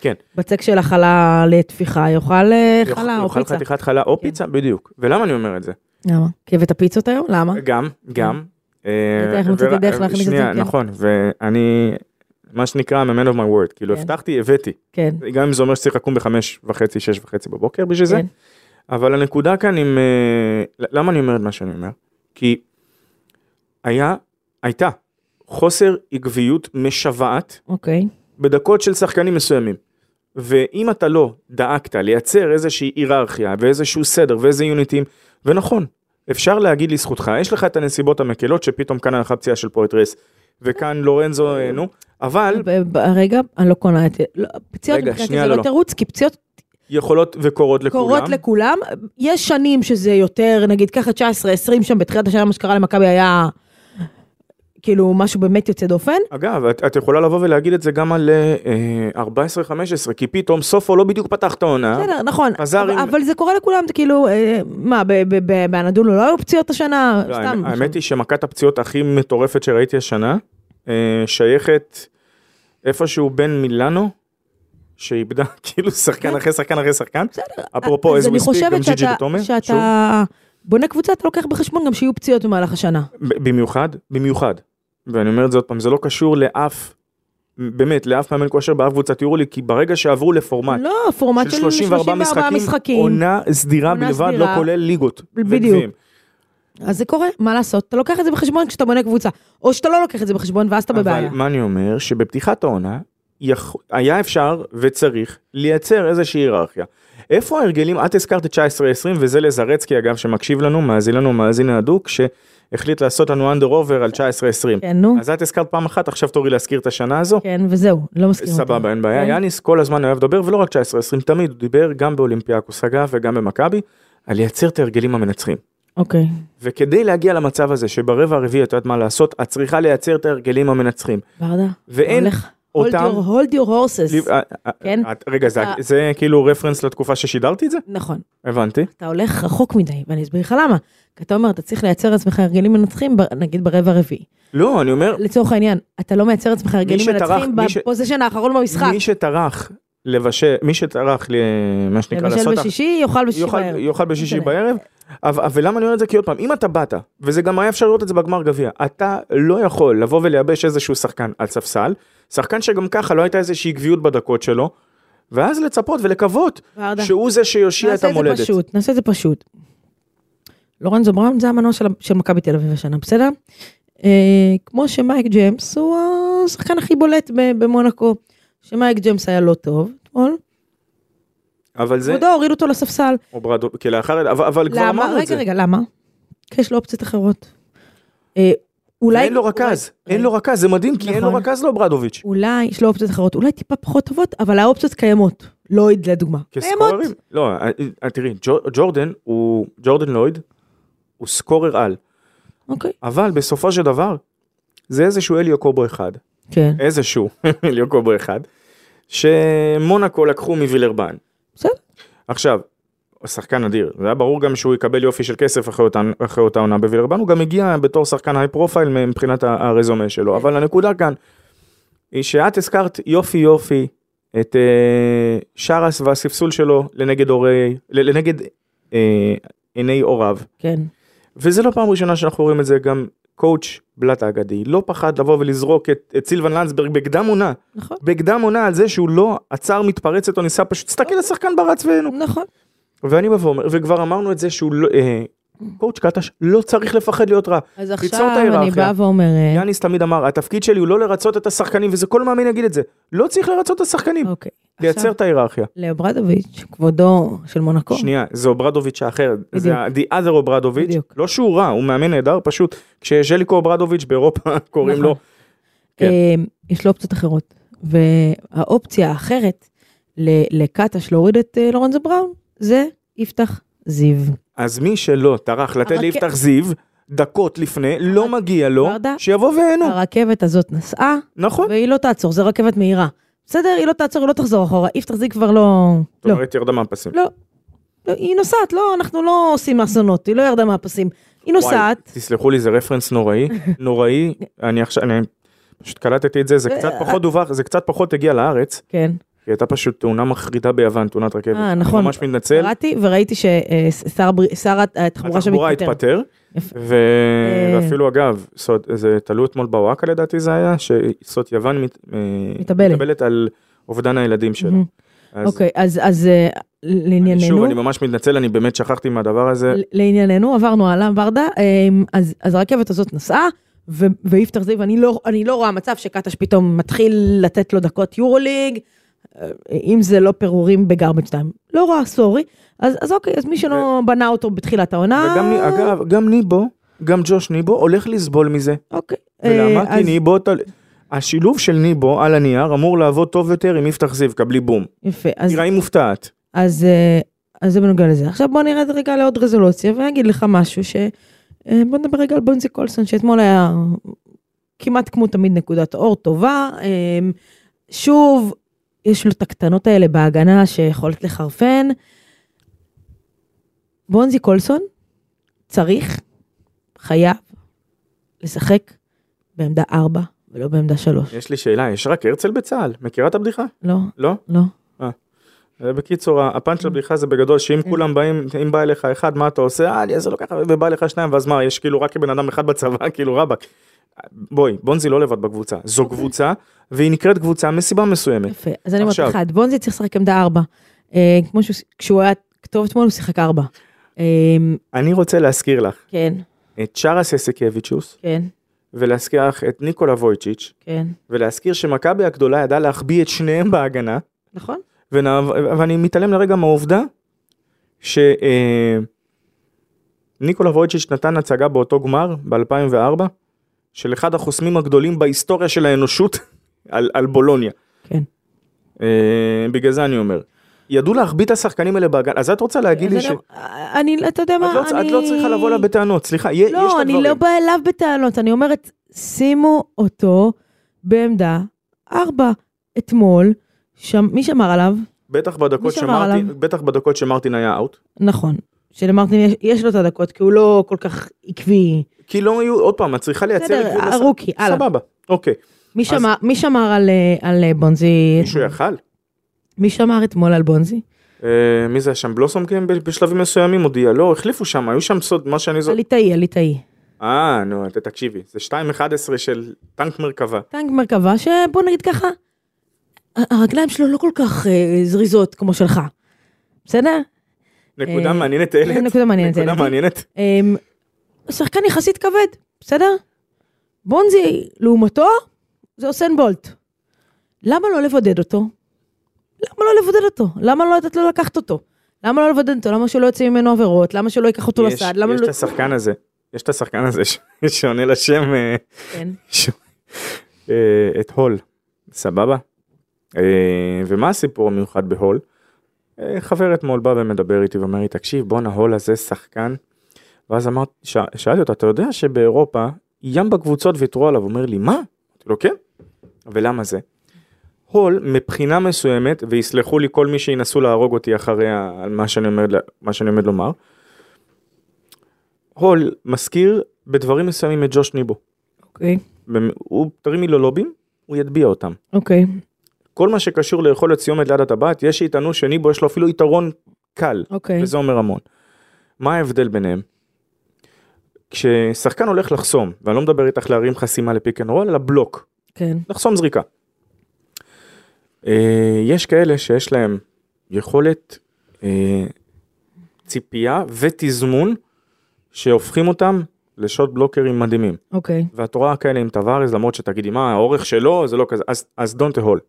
Speaker 3: כן.
Speaker 2: הבצק של החלה לתפיחה, יאכל אה,
Speaker 3: יאכל-
Speaker 2: חלה או
Speaker 3: יאכל
Speaker 2: פיצה.
Speaker 3: חתיכת חלה או
Speaker 2: כן.
Speaker 3: פיצה, בדיוק. ולמה אני אומר את זה?
Speaker 2: למה? כי הבאת פיצות היום? למה?
Speaker 3: גם, גם.
Speaker 2: אה. ראית איך מצאתי
Speaker 3: ול-
Speaker 2: דרך להכניס את זה,
Speaker 3: שנייה,
Speaker 2: כן.
Speaker 3: נכון, ואני, מה שנקרא, I'm a man of my word, כאילו
Speaker 2: כן.
Speaker 3: הבטחתי, הבאתי.
Speaker 2: כן.
Speaker 3: גם אם זה אומר שצריך לקום בחמש וחצי, שש וחצי בבוקר בשביל זה.
Speaker 2: כן.
Speaker 3: אבל הנקודה כאן עם... אה, למה אני אומר את מה שאני אומר? כי היה, הייתה חוסר עקביות משוועת
Speaker 2: אוקיי.
Speaker 3: בדקות של שחקנים מסוימים. ואם אתה לא דאגת לייצר איזושהי היררכיה ואיזשהו סדר ואיזה יוניטים, ונכון, אפשר להגיד לזכותך, יש לך את הנסיבות המקלות שפתאום כאן הלכה פציעה של פואטרס, וכאן לורנזו, אה, נו, אבל
Speaker 2: ב- ב- רגע, אני לא קונה את זה. לא, פציעות
Speaker 3: רגע,
Speaker 2: מבחינתי
Speaker 3: שנייה,
Speaker 2: זה
Speaker 3: לא,
Speaker 2: לא
Speaker 3: לא.
Speaker 2: תירוץ, כי פציעות
Speaker 3: יכולות וקורות לכולם.
Speaker 2: קורות לכולם. יש שנים שזה יותר, נגיד ככה 19-20 שם, בתחילת השנה מה שקרה למכבי היה כאילו משהו באמת יוצא דופן.
Speaker 3: אגב, את, את יכולה לבוא ולהגיד את זה גם על אה, 14-15, כי פתאום סופו לא בדיוק פתח את העונה.
Speaker 2: בסדר, נכון,
Speaker 3: חזר
Speaker 2: אבל-
Speaker 3: עם-
Speaker 2: אבל זה קורה לכולם, זה כאילו, אה, מה, ב- ב- ב- באנדולו לא היו פציעות השנה?
Speaker 3: לא,
Speaker 2: סתם.
Speaker 3: האמת- האמת היא שמכת הפציעות הכי מטורפת שראיתי השנה, אה, שייכת איפשהו בין מילאנו, שאיבדה *laughs* כאילו שחקן אחרי שחקן אחרי שחקן,
Speaker 2: כן.
Speaker 3: אפרופו
Speaker 2: אה, אז
Speaker 3: איזה
Speaker 2: אני
Speaker 3: מספיק, גם
Speaker 2: חושבת
Speaker 3: ג'יג'י
Speaker 2: שאתה-
Speaker 3: וטומר, שוב,
Speaker 2: שאתה בונה קבוצה, אתה לוקח בחשבון גם שיהיו פציעות במהלך השנה.
Speaker 3: ב- במיוחד, במיוחד, ואני אומר את זה עוד פעם, זה לא קשור לאף, באמת, לאף מאמן כושר באף קבוצת יורוליג, כי ברגע שעברו לפורמט,
Speaker 2: לא, פורמט של 34 משחקים.
Speaker 3: עונה סדירה
Speaker 2: עונה
Speaker 3: בלבד, לא
Speaker 2: סדירה.
Speaker 3: כולל ליגות.
Speaker 2: בדיוק.
Speaker 3: וגביעים.
Speaker 2: אז זה קורה, מה לעשות? אתה לוקח את זה בחשבון כשאתה בונה קבוצה, או שאתה לא לוקח את זה בחשבון ואז אתה
Speaker 3: אבל
Speaker 2: בבעיה.
Speaker 3: מה אני אומר? שבפתיחת העונה יכ- היה אפשר וצריך לייצר איזושהי היררכיה. איפה ההרגלים? את הזכרת את 19-20 וזה לזרצקי אגב שמקשיב לנו, מאזין לנו מאזין הדוק, שהחליט לעשות לנו אנדר אובר על 19-20.
Speaker 2: כן, נו,
Speaker 3: אז את הזכרת פעם אחת, עכשיו תורי להזכיר את השנה הזו.
Speaker 2: כן, וזהו, לא מסכים. איתך.
Speaker 3: סבבה, אין בעיה.
Speaker 2: כן.
Speaker 3: יאניס כל הזמן אוהב לדבר, ולא רק 19-20, תמיד הוא דיבר גם באולימפיאקוס אגב וגם במכבי, על לייצר את ההרגלים המנצחים.
Speaker 2: אוקיי,
Speaker 3: וכדי להגיע למצב הזה שברבע הרביעי את יודעת מה לעשות, את צריכה לייצר את ההרגלים המנצחים.
Speaker 2: ברדה,
Speaker 3: ואין
Speaker 2: הולך. Hold
Speaker 3: אותם...
Speaker 2: your- hold your horses.
Speaker 3: אה, אה,
Speaker 2: כן?
Speaker 3: אה, רגע, זה-
Speaker 2: אתה-
Speaker 3: זה כאילו רפרנס לתקופה ששידרתי את זה?
Speaker 2: נכון,
Speaker 3: הבנתי.
Speaker 2: אתה הולך רחוק מדי, ואני אסביר לך למה. כי אתה אומר, אתה צריך לייצר לעצמך הרגלים מנצחים, ב- נגיד ברבע הרביעי.
Speaker 3: לא, אני אומר,
Speaker 2: לצורך העניין, אתה לא מייצר לעצמך הרגלים
Speaker 3: שטרח,
Speaker 2: מנצחים
Speaker 3: מי ש-
Speaker 2: בפוזיישן האחרון במשחק.
Speaker 3: מי שטרח לבשל, מי שטרח, ל- מה שנקרא,
Speaker 2: למשל
Speaker 3: לעשות... הח-
Speaker 2: בשישי, יאכל בשישי
Speaker 3: יאכל-
Speaker 2: בערב.
Speaker 3: יאכל בשישי
Speaker 2: משנה.
Speaker 3: בערב. אבל אבל למה אני אומר את זה? כי עוד פעם, אם אתה באת, וזה גם היה אפשר לראות את זה בגמר גביע, אתה לא יכול לבוא ולייבש איזשהו שחקן על ספסל, שחקן שגם ככה לא הייתה איזושהי עקביות בדקות שלו, ואז לצפות ולקוות
Speaker 2: ורדה.
Speaker 3: שהוא זה שיושיע את
Speaker 2: נעשה
Speaker 3: המולדת.
Speaker 2: זה פשוט, נעשה את זה פשוט. לורנזו בראון זה המנוע של, של מכבי תל אביב השנה, בסדר? אה, כמו שמייק ג'מס הוא השחקן הכי בולט ב- במונקו, שמייק ג'מס היה לא טוב אתמול,
Speaker 3: אבל זה,
Speaker 2: כבודו הוריד אותו לספסל.
Speaker 3: אוברדו, כי לאחר, אבל- אבל כבר
Speaker 2: למה?
Speaker 3: אמרנו את
Speaker 2: רגע,
Speaker 3: זה.
Speaker 2: רגע, למה? כי יש לו אופציות אחרות. אה, אולי...
Speaker 3: אין לו רכז, אין לו רכז, זה מדהים, כי אין לו
Speaker 2: נכון.
Speaker 3: רכז לא, לאוברדוביץ'.
Speaker 2: אולי יש לו אופציות אחרות, אולי טיפה פחות טובות, אבל האופציות קיימות. לויד לדוגמה. קיימות.
Speaker 3: כסקוררים? לא, אה, אה, תראי, ג'ו- ג'ורדן הוא, ג'ורדן לויד, הוא סקורר על,
Speaker 2: אוקיי.
Speaker 3: אבל בסופו של דבר, זה איזשהו אליו קובו אחד,
Speaker 2: כן.
Speaker 3: איזשהו *laughs* אליו קובו אחד, שמונאקו לקחו מווילרבן.
Speaker 2: בסדר.
Speaker 3: עכשיו, הוא שחקן אדיר, זה היה ברור גם שהוא יקבל יופי של כסף אחרי אותה, אחרי אותה עונה בווילרבן, הוא גם הגיע בתור שחקן היי פרופייל מבחינת ה- הרזומה
Speaker 2: כן.
Speaker 3: שלו, אבל הנקודה כאן, היא שאת הזכרת יופי יופי את אה, שרס והספסול שלו לנגד, הורי, ל- לנגד אה, עיני הוריו,
Speaker 2: כן.
Speaker 3: וזה לא פעם ראשונה שאנחנו רואים את זה, גם קואוץ' בלאט האגדי לא פחד לבוא ולזרוק את, את סילבן לנדסברג בקדם עונה,
Speaker 2: נכון.
Speaker 3: בקדם עונה על זה שהוא לא עצר מתפרצת או ניסה פשוט, תסתכל לשחקן ברץ ואינו.
Speaker 2: נכון.
Speaker 3: ואני בא ואומר, וכבר אמרנו את זה שהוא לא, אה, קואוצ' קטש לא צריך לפחד להיות רע.
Speaker 2: אז
Speaker 3: ליצור
Speaker 2: עכשיו
Speaker 3: את
Speaker 2: אני
Speaker 3: ההיררכיה.
Speaker 2: באה ואומרת,
Speaker 3: יאניס תמיד אמר, התפקיד שלי הוא לא לרצות את השחקנים, וזה כל מאמין יגיד את זה. לא צריך לרצות את השחקנים,
Speaker 2: אוקיי.
Speaker 3: לייצר
Speaker 2: עכשיו,
Speaker 3: את ההיררכיה.
Speaker 2: לאוברדוביץ', כבודו של מונקו.
Speaker 3: שנייה, זה אוברדוביץ' האחר, זה
Speaker 2: בדיוק.
Speaker 3: ה-the other אוברדוביץ',
Speaker 2: בדיוק.
Speaker 3: לא שהוא רע, הוא מאמן נהדר פשוט, כשז'ליקו אוברדוביץ' באירופה *laughs* קוראים לו, כן.
Speaker 2: אה, יש לו אופציות אחרות. והאופציה האחרת ל- לקטש להוריד את אה, לורנזו בראון, זה יפתח זיו.
Speaker 3: אז מי שלא טרח לתת
Speaker 2: הרק-
Speaker 3: ליפתח זיו, דקות לפני, לא מגיע לו,
Speaker 2: ברדה,
Speaker 3: שיבוא ויהנו,
Speaker 2: הרכבת הזאת נסעה,
Speaker 3: נכון?
Speaker 2: והיא לא תעצור, זו רכבת מהירה. בסדר, היא לא תעצור, היא לא תחזור אחורה. יפתח זיו כבר לא...
Speaker 3: זאת
Speaker 2: לא.
Speaker 3: אומרת, ירדה מהפסים.
Speaker 2: לא. לא, היא נוסעת, לא, אנחנו לא עושים אסונות, היא לא ירדה מהפסים. היא נוסעת,
Speaker 3: וואי, תסלחו לי, זה
Speaker 2: *laughs*
Speaker 3: רפרנס נוראי, נוראי, אני עכשיו, אני פשוט קלטתי את זה, זה קצת פחות דווח, זה קצת פחות הגיע לארץ,
Speaker 2: כן,
Speaker 3: כי הייתה פשוט תאונה מחרידה ביוון, תאונת רכבת.
Speaker 2: אה, נכון.
Speaker 3: ממש מתנצל.
Speaker 2: קראתי וראיתי ששר התחבורה שם
Speaker 3: התחבורה
Speaker 2: התפטר.
Speaker 3: התפטר,
Speaker 2: יפה. אה.
Speaker 3: ו- ואפילו אגב, סוד- זה תלו אתמול בוואקה לדעתי זה היה, שסוד יוון מת- אה,
Speaker 2: מתאבלת.
Speaker 3: מתאבלת על אובדן הילדים שלה.
Speaker 2: מהמם.
Speaker 3: אז
Speaker 2: אוקיי, אז- אז אה,
Speaker 3: אני- שוב,
Speaker 2: לענייננו,
Speaker 3: אני ממש מתנצל, אני באמת שכחתי מהדבר הזה.
Speaker 2: לענייננו, עברנו הלאה, ברדה, אה, אז אז הרכבת הזאת נסעה, ו- ויפתח זיו, אני לא- אני לא רואה מצב שקטש פתאום מתחיל לתת לו דקות יורוליג, אה, אם זה לא פירורים בגרבג' 2. לא רואה, סורי. אז אז אוקיי, אז מי שלא בנה אותו בתחילת העונה...
Speaker 3: וגם, ני- אגב, גם ניבו, גם ג'וש ניבו הולך לסבול מזה.
Speaker 2: אוקיי. אה,
Speaker 3: ולמה? כי
Speaker 2: אז-
Speaker 3: ניבו, תל- השילוב של ניבו על הנייר אמור לעבוד טוב יותר עם יפתח זיו, קבלי בום.
Speaker 2: יפה, אז
Speaker 3: תיראי מופתעת.
Speaker 2: אז, אה, אז זה בנוגע לזה. עכשיו בוא נרד רגע לעוד רזולוציה ואני אגיד לך משהו ש... אה, בוא נדבר רגע על בונזי קולסון, שאתמול היה כמעט כמו תמיד נקודת אור טובה. אה, שוב, יש לו את הקטנות האלה בהגנה שיכולת לחרפן. בונזי קולסון צריך, חייב, לשחק בעמדה 4 ולא בעמדה 3.
Speaker 3: יש לי שאלה, יש רק הרצל בצה"ל? מכירה את הבדיחה?
Speaker 2: לא,
Speaker 3: לא?
Speaker 2: לא.
Speaker 3: זה בקיצור, הפאנץ' של הבדיחה זה בגדול
Speaker 2: כן.
Speaker 3: שאם כולם באים, אם בא אליך אחד, מה אתה עושה? אה, אני אעשה לו ככה, ובא אליך שניים, ואז מה, יש כאילו רק בן אדם אחד בצבא, *laughs* כאילו רבאק. בואי, בונזי לא לבד בקבוצה, זו קבוצה, והיא נקראת קבוצה מסיבה מסוימת.
Speaker 2: יפה, אז אני אומרת
Speaker 3: עכשיו.
Speaker 2: לך, את בונזי צריך לשחק עמדה ארבע. אה, כמו שהוא, כשהוא היה כתוב אתמול, הוא שיחק ארבע. אה,
Speaker 3: אני רוצה להזכיר לך
Speaker 2: כן,
Speaker 3: את צ'רס אסיקביצ'וס,
Speaker 2: כן,
Speaker 3: ולהזכיר לך את ניקולה וויצ'יץ',
Speaker 2: כן.
Speaker 3: ולהזכיר שמכבי הגדולה ידעה להחביא את שניהם בהגנה,
Speaker 2: נכון?
Speaker 3: ונע- ואני מתעלם לרגע מהעובדה שניקולה וויצ'יץ' נתן הצגה באותו גמר ב-2004 של אחד החוסמים הגדולים בהיסטוריה של האנושות *laughs* על, על בולוניה.
Speaker 2: כן.
Speaker 3: אה, בגלל זה אני אומר. ידעו להחביא את השחקנים האלה בהגנה, אז את רוצה להגיד לי
Speaker 2: אז
Speaker 3: ש...
Speaker 2: אני-
Speaker 3: את
Speaker 2: אה, אני, אתה יודע מה,
Speaker 3: לא, צ-
Speaker 2: אני...
Speaker 3: את לא צריכה לבוא לה בטענות, סליחה, יה- יש לה
Speaker 2: לא, אני
Speaker 3: דברים.
Speaker 2: לא באה אליו בטענות, אני אומרת, שימו אותו בעמדה ארבע. אתמול, שם, מי שמר עליו?
Speaker 3: בטח בדקות
Speaker 2: מי שמר
Speaker 3: שמרטין,
Speaker 2: עליו?
Speaker 3: בטח בדקות שמרטין היה אאוט.
Speaker 2: נכון. שלמרטין יש, יש לו את הדקות, כי הוא לא כל כך עקבי.
Speaker 3: כי לא היו, עוד פעם, את צריכה לייצר...
Speaker 2: בסדר,
Speaker 3: את גבול הס-
Speaker 2: הרוקי, הלאה. כן.
Speaker 3: סבבה, אוקיי.
Speaker 2: מי שמר, מי שמר על, אה, על אה, בונזי?
Speaker 3: מישהו יכל?
Speaker 2: מי שמר אתמול על בונזי?
Speaker 3: אה, מי זה היה שם בלוסום כן ב- בשלבים מסוימים הודיע לא החליפו שם היו שם סוד מה שאני זוכר.
Speaker 2: הליטאי, הליטאי.
Speaker 3: אה נו ת- תקשיבי זה 2.11 של טנק מרכבה.
Speaker 2: טנק מרכבה שבוא נגיד ככה, ה- הרגליים שלו לא כל כך אה, זריזות כמו שלך, בסדר?
Speaker 3: נקודה
Speaker 2: אה,
Speaker 3: מעניינת אילת.
Speaker 2: נקודה מעניינת,
Speaker 3: נקודה
Speaker 2: אילת.
Speaker 3: מעניינת.
Speaker 2: אה, שחקן יחסית כבד, בסדר? בונזי, לעומתו, זה אוסן בולט. למה לא לבודד אותו? למה לא לבודד אותו? למה לא לתת לו לקחת אותו? למה לא לבודד אותו? למה שלא יוצא ממנו עבירות? למה שלא ייקח אותו
Speaker 3: יש
Speaker 2: לסעד? למה
Speaker 3: יש
Speaker 2: לא...
Speaker 3: את השחקן הזה יש את השחקן הזה ש- *laughs* שעונה לשם אה,
Speaker 2: כן.
Speaker 3: ש- אה, את הול סבבה. אה, ומה הסיפור המיוחד בהול? אה, חבר אתמול בא ומדבר איתי ואומר לי תקשיב בואנה הול הזה שחקן. ואז אמרתי ש- שאלתי אותו אתה יודע שבאירופה ים בקבוצות ויתרו עליו הוא אומר לי מה? אמרתי לו כן. ולמה זה? הול מבחינה מסוימת ויסלחו לי כל מי שינסו להרוג אותי אחרי ה- על מה שאני עומד, ל- מה שאני עומד לומר. הול מזכיר בדברים מסוימים את ג'וש ניבו.
Speaker 2: אוקיי.
Speaker 3: במ- הוא תרימי לו לובים, הוא יטביע אותם.
Speaker 2: אוקיי.
Speaker 3: כל מה שקשור ליכולת סיומת ליד הטבעת, יש שיטענו שניבו יש לו אפילו יתרון קל,
Speaker 2: אוקיי.
Speaker 3: וזה אומר המון. מה ההבדל ביניהם? כששחקן הולך לחסום, ואני לא מדבר איתך להרים חסימה לפיק אנד רול, אלא בלוק,
Speaker 2: כן.
Speaker 3: לחסום זריקה. אה, יש כאלה שיש להם יכולת אה, ציפייה ותזמון שהופכים אותם לשוט בלוקרים מדהימים.
Speaker 2: אוקיי.
Speaker 3: ואת רואה כאלה עם טווארז למרות שתגידי מה האורך שלו זה לא כזה אז אז דונטה הול.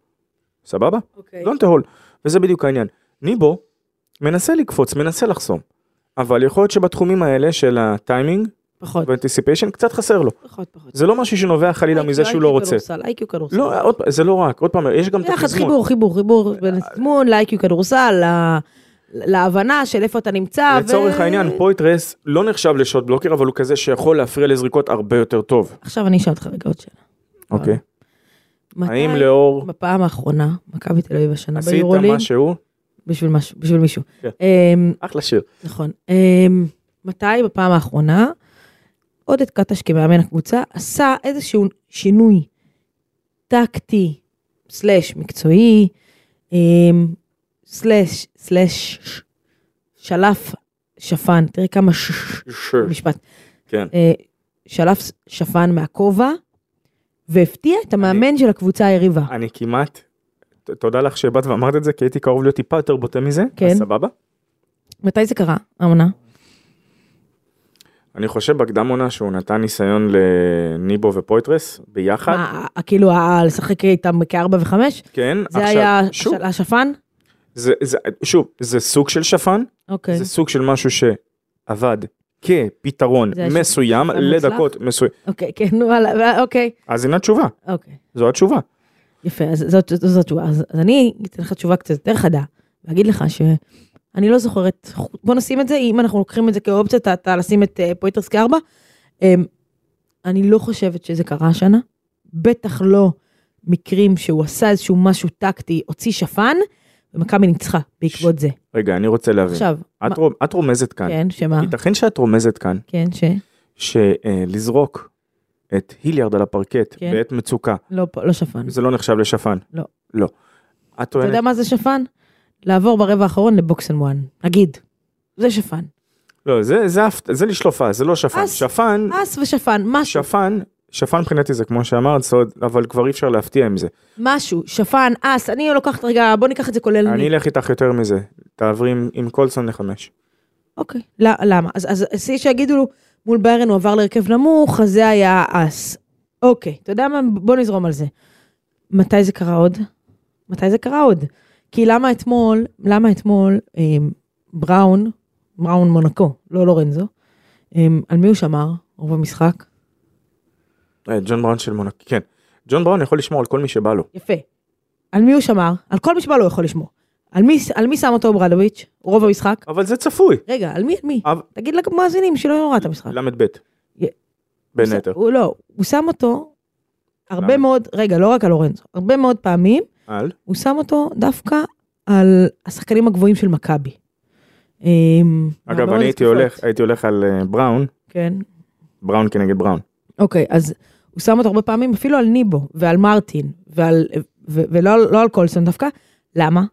Speaker 3: סבבה?
Speaker 2: אוקיי.
Speaker 3: דונטה הול. וזה בדיוק העניין. ניבו מנסה לקפוץ מנסה לחסום. אבל יכול להיות שבתחומים האלה של הטיימינג
Speaker 2: פחות.
Speaker 3: ואנטיסיפיישן קצת חסר לו.
Speaker 2: פחות, פחות.
Speaker 3: זה לא משהו שנובע חלילה מזה שהוא לא רוצה.
Speaker 2: איי-קיו כדורסל.
Speaker 3: לא עוד פעם, זה לא רק עוד פעם אה, יש גם את
Speaker 2: יחד
Speaker 3: התזמון.
Speaker 2: חיבור, חיבור, חיבור בין התזמון לאיי-קיו כדורסל, ל- להבנה של איפה אתה נמצא. ו-
Speaker 3: לצורך העניין פויטרס לא נחשב לשוט בלוקר אבל הוא כזה שיכול להפריע לזריקות הרבה יותר טוב.
Speaker 2: עכשיו אני אשאל אותך רגע עוד שאלה.
Speaker 3: אוקיי. האם
Speaker 2: מתי
Speaker 3: לאור
Speaker 2: בפעם האחרונה, מכבי תל אביב השנה
Speaker 3: עשית
Speaker 2: ביורולינג,
Speaker 3: משהו?
Speaker 2: בשביל משהו, בשביל מישהו.
Speaker 3: כן.
Speaker 2: אמ,
Speaker 3: אחלה שיר.
Speaker 2: נכון. אמ, מתי בפעם האחרונה עודד קטש כמאמן הקבוצה עשה איזשהו שינוי טקטי, סלאש מקצועי, אמ, סלאש, סלאש, ש- שלף שפן, תראה כמה ש...
Speaker 3: ש-
Speaker 2: משפט.
Speaker 3: כן.
Speaker 2: אה, שלף ס- שפן מהכובע, והפתיע את המאמן של הקבוצה היריבה.
Speaker 3: אני כמעט, ת- תודה לך שבאת ואמרת את זה, כי הייתי קרוב להיות טיפה יותר בוטה מזה,
Speaker 2: כן.
Speaker 3: אז סבבה.
Speaker 2: מתי זה קרה, העונה?
Speaker 3: אני חושב בקדם עונה שהוא נתן ניסיון לניבו ופויטרס ביחד,
Speaker 2: מה, כאילו, ה- לשחק איתם כארבע וחמש?
Speaker 3: כן,
Speaker 2: זה היה
Speaker 3: שוב,
Speaker 2: של- השפן?
Speaker 3: זה, זה, שוב, זה סוג של שפן,
Speaker 2: אוקיי.
Speaker 3: זה סוג של משהו שעבד כפתרון
Speaker 2: זה היה
Speaker 3: מסוים
Speaker 2: שפן מוצלח?
Speaker 3: לדקות מסוים,
Speaker 2: אוקיי, כן, נו, וואלה, אוקיי.
Speaker 3: אז הנה התשובה,
Speaker 2: אוקיי.
Speaker 3: זו התשובה.
Speaker 2: יפה, אז זאת, זאת, זאת התשובה. אז, אז אני אתן לך תשובה קצת יותר חדה, ואגיד לך שאני לא זוכרת, בוא נשים את זה, אם אנחנו לוקחים את זה כאופציה, אתה, אתה לשים את אה, פויטרס כארבע. אמ, אני לא חושבת שזה קרה השנה, בטח לא מקרים שהוא עשה איזשהו משהו טקטי, הוציא שפן, ומכבי ניצחה בעקבות זה.
Speaker 3: רגע, אני רוצה להבין,
Speaker 2: עכשיו,
Speaker 3: את,
Speaker 2: מה-
Speaker 3: רומ, את רומזת כאן,
Speaker 2: כן, שמה?
Speaker 3: ייתכן שאת רומזת כאן,
Speaker 2: כן, ש...
Speaker 3: שלזרוק את היליארד על הפרקט
Speaker 2: כן.
Speaker 3: בעת מצוקה,
Speaker 2: לא, פה- לא שפן.
Speaker 3: זה לא נחשב לשפן.
Speaker 2: לא.
Speaker 3: לא. את
Speaker 2: אתה יודע
Speaker 3: טוענת,
Speaker 2: מה זה שפן? לעבור ברבע האחרון לבוקס אנד וואן, נגיד. זה שפן.
Speaker 3: לא, זה- זה הפת- זה לשלופה, זה לא שפן.
Speaker 2: אז-
Speaker 3: שפן,
Speaker 2: אס ושפן, משהו.
Speaker 3: שפן, שפן מבחינתי זה כמו שאמרת, זה עוד- אבל כבר אי אפשר להפתיע עם זה.
Speaker 2: משהו, שפן, אס, אני לוקחת רגע, בוא ניקח את זה כולל
Speaker 3: אני לא-
Speaker 2: אני.
Speaker 3: אלך איתך יותר מזה, תעברי עם- עם קולסון לחמש.
Speaker 2: אוקיי, ל- למה? אז- אז סי שיגידו לו, מול ביירן הוא עבר להרכב נמוך, אז זה היה אס. אוקיי, אתה יודע מה? בוא נזרום על זה. מתי זה קרה עוד? מתי זה קרה עוד? כי למה אתמול, למה אתמול אמ, בראון, בראון מונקו, לא לורנזו, אמ, על מי הוא שמר רוב המשחק?
Speaker 3: אה, ג'ון בראון של מונק, כן. ג'ון בראון יכול לשמור על כל מי שבא לו.
Speaker 2: יפה. על מי הוא שמר? על כל מי שבא לו הוא יכול לשמור. על מי, על מי שם אותו ברדוביץ', רוב המשחק?
Speaker 3: אבל זה צפוי.
Speaker 2: רגע, על מי? על מי?
Speaker 3: אבל-
Speaker 2: תגיד למאזינים שלא יראו את המשחק.
Speaker 3: ל"ב.
Speaker 2: י-
Speaker 3: בין
Speaker 2: הוא
Speaker 3: היתר.
Speaker 2: ש- הוא לא, הוא שם אותו הרבה
Speaker 3: למה?
Speaker 2: מאוד, רגע, לא רק על אורנזו, הרבה מאוד פעמים,
Speaker 3: על?
Speaker 2: הוא שם אותו דווקא על השחקנים הגבוהים של מכבי. אמ,
Speaker 3: אגב,
Speaker 2: בהרבה מאוד
Speaker 3: אני הייתי
Speaker 2: התקפות.
Speaker 3: הולך, הייתי הולך על אה, בראון,
Speaker 2: כן,
Speaker 3: בראון כנגד בראון.
Speaker 2: אוקיי, אז הוא שם אותו הרבה פעמים אפילו על ניבו ועל מרטין, ועל, ו, ולא על- לא על קולסון דווקא. למה?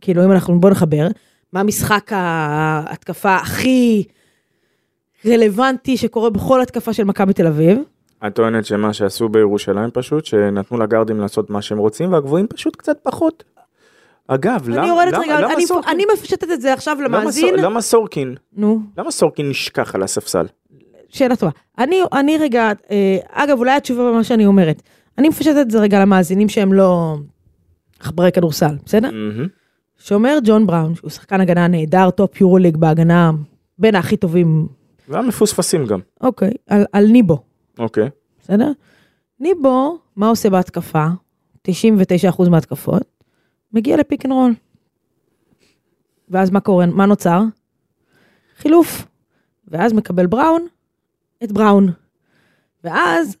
Speaker 2: כאילו, אם אנחנו, בוא נחבר, מה משחק ההתקפה הכי רלוונטי שקורה בכל התקפה של מכבי תל אביב?
Speaker 3: את טוענת שמה שעשו בירושלים פשוט, שנתנו לגארדים לעשות מה שהם רוצים, והגבוהים פשוט קצת פחות. אגב, למה
Speaker 2: אני יורדת
Speaker 3: למה-
Speaker 2: רגע,
Speaker 3: למה
Speaker 2: אני,
Speaker 3: סורקין-
Speaker 2: אני מפשטת את זה עכשיו
Speaker 3: למה
Speaker 2: למאזין.
Speaker 3: סור- למה סורקין?
Speaker 2: נו,
Speaker 3: למה סורקין נשכח על הספסל?
Speaker 2: שאלה טובה. אני, אני רגע, אה, אגב, אולי התשובה במה שאני אומרת. אני מפשטת את זה רגע למאזינים שהם לא עכברי כדורסל, בסדר?
Speaker 3: מהמם.
Speaker 2: שומר ג'ון בראון, שהוא שחקן הגנה נהדר, טופ יורוליג בהגנה, בין הכי טובים,
Speaker 3: והמפוספסים גם.
Speaker 2: אוקיי, על, על ניבו,
Speaker 3: אוקיי.
Speaker 2: בסדר? ניבו, מה עושה בהתקפה? 99% מההתקפות, מגיע לפיק אנד רול. ואז מה קורה? מה נוצר? חילוף. ואז מקבל בראון את בראון. ואז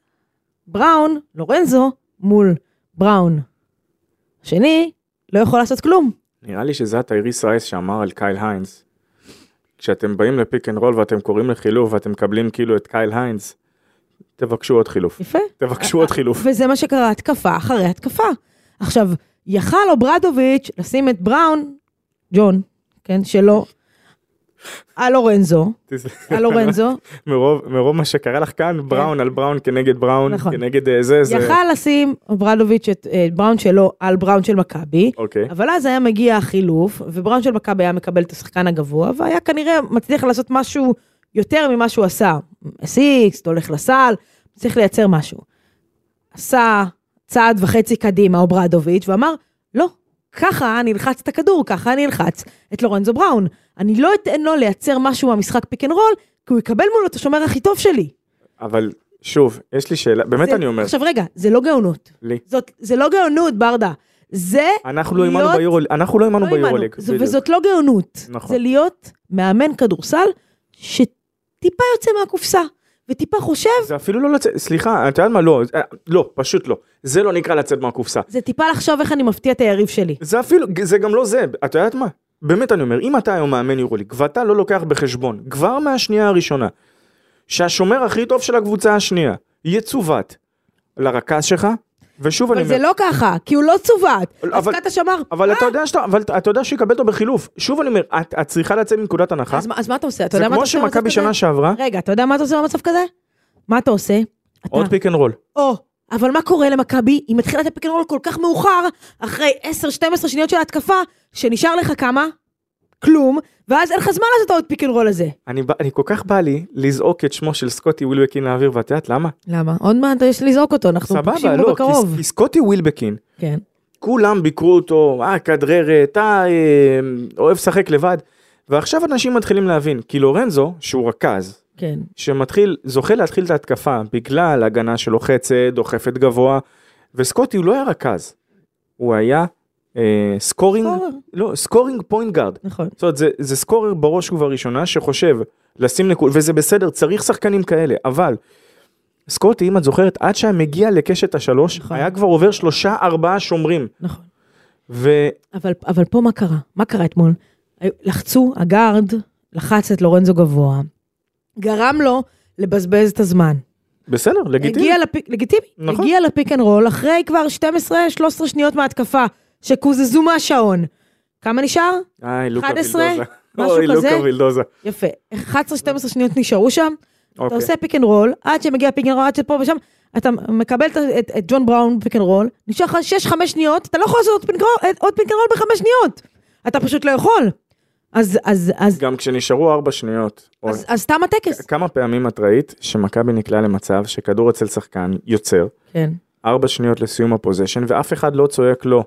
Speaker 2: בראון, לורנזו, מול בראון. השני לא יכול לעשות כלום.
Speaker 3: נראה לי שזה הטייריס רייס שאמר על קייל היינס. כשאתם באים לפיק אנד רול ואתם קוראים לחילוף ואתם מקבלים כאילו את קייל היינס, תבקשו
Speaker 2: *laughs*
Speaker 3: עוד חילוף.
Speaker 2: יפה.
Speaker 3: תבקשו עוד חילוף.
Speaker 2: וזה מה שקרה, התקפה אחרי התקפה. עכשיו, יכל אוברדוביץ' לשים את בראון, ג'ון, כן, שלו, על אורנזו, על אורנזו,
Speaker 3: מרוב מרוב מה שקרה לך כאן, בראון על בראון כנגד בראון,
Speaker 2: כן. נכון.
Speaker 3: כנגד אה, זה, זה...
Speaker 2: יכל לשים אוברדוביץ' את אה, בראון שלו על בראון של מכבי,
Speaker 3: אוקיי.
Speaker 2: אבל אז היה מגיע החילוף, ובראון של מכבי היה מקבל את השחקן הגבוה, והיה כנראה מצליח לעשות משהו יותר ממה שהוא עשה. אסיקסט, הולך לסל, צריך לייצר משהו. עשה צעד וחצי קדימה, אוברדוביץ', ואמר, לא, ככה אני אלחץ את הכדור, ככה אני אלחץ את לורנזו בראון. אני לא אתן לו לייצר משהו מהמשחק פיק אנד רול, כי הוא יקבל מולו את השומר הכי טוב שלי.
Speaker 3: אבל שוב, יש לי שאלה, באמת
Speaker 2: זה-
Speaker 3: אני אומר,
Speaker 2: עכשיו רגע, זה לא גאונות.
Speaker 3: לי.
Speaker 2: זאת, זה לא גאונות, ברדה. זה
Speaker 3: אנחנו לא
Speaker 2: להיות-
Speaker 3: האמנו ביורוליג, אנחנו לא האמנו
Speaker 2: לא האמנו.
Speaker 3: ביורוליג.
Speaker 2: זה-
Speaker 3: בדיוק.
Speaker 2: וזאת לא גאונות.
Speaker 3: נכון.
Speaker 2: זה להיות מאמן כדורסל שטיפה יוצא מהקופסה, וטיפה חושב,
Speaker 3: זה אפילו לא לצאת, סליחה, את יודעת מה, לא, אה, לא, פשוט לא. זה לא נקרא לצאת מהקופסה.
Speaker 2: זה טיפה לחשוב איך אני מפתיע את היריב שלי.
Speaker 3: זה אפילו, זה גם לא זה, את יודעת מה? באמת אני אומר, אם אתה היום מאמן יורוליג, ואתה לא לוקח בחשבון, כבר מהשנייה הראשונה, שהשומר הכי טוב של הקבוצה השנייה, יצוות לרכז שלך, ושוב אני
Speaker 2: אבל
Speaker 3: אומר,
Speaker 2: זה לא ככה, כי הוא לא צוות. אז
Speaker 3: אבל-
Speaker 2: קטש אמר,
Speaker 3: אבל
Speaker 2: "אה,
Speaker 3: אתה יודע שאתה, אבל אתה יודע שיקבל אותו בחילוף. שוב אני אומר, את, את צריכה לצאת מנקודת הנחה.
Speaker 2: אז מה- אז מה אתה עושה? אתה
Speaker 3: זה
Speaker 2: יודע מה אתה
Speaker 3: כמו
Speaker 2: עושה במצב
Speaker 3: שמכבי
Speaker 2: כזה?
Speaker 3: שנה שעברה,
Speaker 2: רגע, אתה יודע מה אתה עושה במצב כזה? מה אתה עושה? אתה-
Speaker 3: עוד פיק אנד רול.
Speaker 2: או, אבל מה קורה למכבי? היא מתחילה את הפיק אנד רול כל כך מאוחר, אחרי 10-12 שניות של ההתקפה, שנשאר לך כמה? כלום, ואז אין לך זמן לעשות את העוד פיק אנד רול הזה.
Speaker 3: אני, בא- אני כל כך בא לי לזעוק את שמו של סקוטי ווילבקין לאוויר, ואת יודעת למה?
Speaker 2: למה? עוד מעט יש לזרוק אותו, אנחנו פוגשים
Speaker 3: סבבה,
Speaker 2: בו
Speaker 3: לא,
Speaker 2: בקרוב.
Speaker 3: כי, כי סקוטי ווילבקין,
Speaker 2: כן.
Speaker 3: כולם ביקרו אותו, אה, כדררת, אה, אה, אוהב לשחק לבד. ועכשיו אנשים מתחילים להבין, כי לורנזו, שהוא רכז,
Speaker 2: כן.
Speaker 3: שמתחיל, זוכה להתחיל את ההתקפה בגלל הגנה שלוחצת, דוחפת גבוה, וסקוטי הוא לא היה רכז, הוא היה אה, סקורינג,
Speaker 2: סקורר.
Speaker 3: לא, סקורינג פוינט גארד.
Speaker 2: נכון.
Speaker 3: זאת אומרת, זה, זה סקורר בראש ובראשונה שחושב לשים נקוד, וזה בסדר, צריך שחקנים כאלה, אבל סקוטי, אם את זוכרת, עד שהיה מגיע לקשת השלוש,
Speaker 2: נכון.
Speaker 3: היה כבר עובר שלושה ארבעה שומרים,
Speaker 2: נכון.
Speaker 3: ו...
Speaker 2: אבל, אבל פה מה קרה? מה קרה אתמול? היו- לחצו, הגארד לחץ את לורנזו גבוה, גרם לו לבזבז את הזמן.
Speaker 3: בסדר, לגיטימי.
Speaker 2: הגיע לפיק, לגיטימי,
Speaker 3: נכון.
Speaker 2: הגיע לפיק אנד רול אחרי כבר 12-13 שניות מההתקפה, שקוזזו מהשעון. כמה נשאר?
Speaker 3: איי, לוקה
Speaker 2: 11?
Speaker 3: וילדוזה.
Speaker 2: משהו
Speaker 3: *laughs* אוי, לוקה
Speaker 2: כזה?
Speaker 3: וילדוזה.
Speaker 2: יפה. 11-12 שניות נשארו שם, אתה
Speaker 3: אוקיי.
Speaker 2: עושה פיק אנד רול, עד שמגיע פיק אנד רול, עד שפה ושם, אתה מקבל את, את, את ג'ון בראון פיק אנד רול, נשאר לך 6-5 שניות, אתה לא יכול לעשות עוד פיק אנד רול- עוד פיק אנד רול בחמש שניות. אתה פשוט לא יכול. אז, אז, אז,
Speaker 3: גם כשנשארו ארבע שניות, אוי.
Speaker 2: אז, אז תם הטקס.
Speaker 3: כמה פעמים את ראית שמכבי נקלעה למצב שכדור אצל שחקן יוצר,
Speaker 2: כן.
Speaker 3: ארבע שניות לסיום הפוזיישן, ואף אחד לא צועק לא.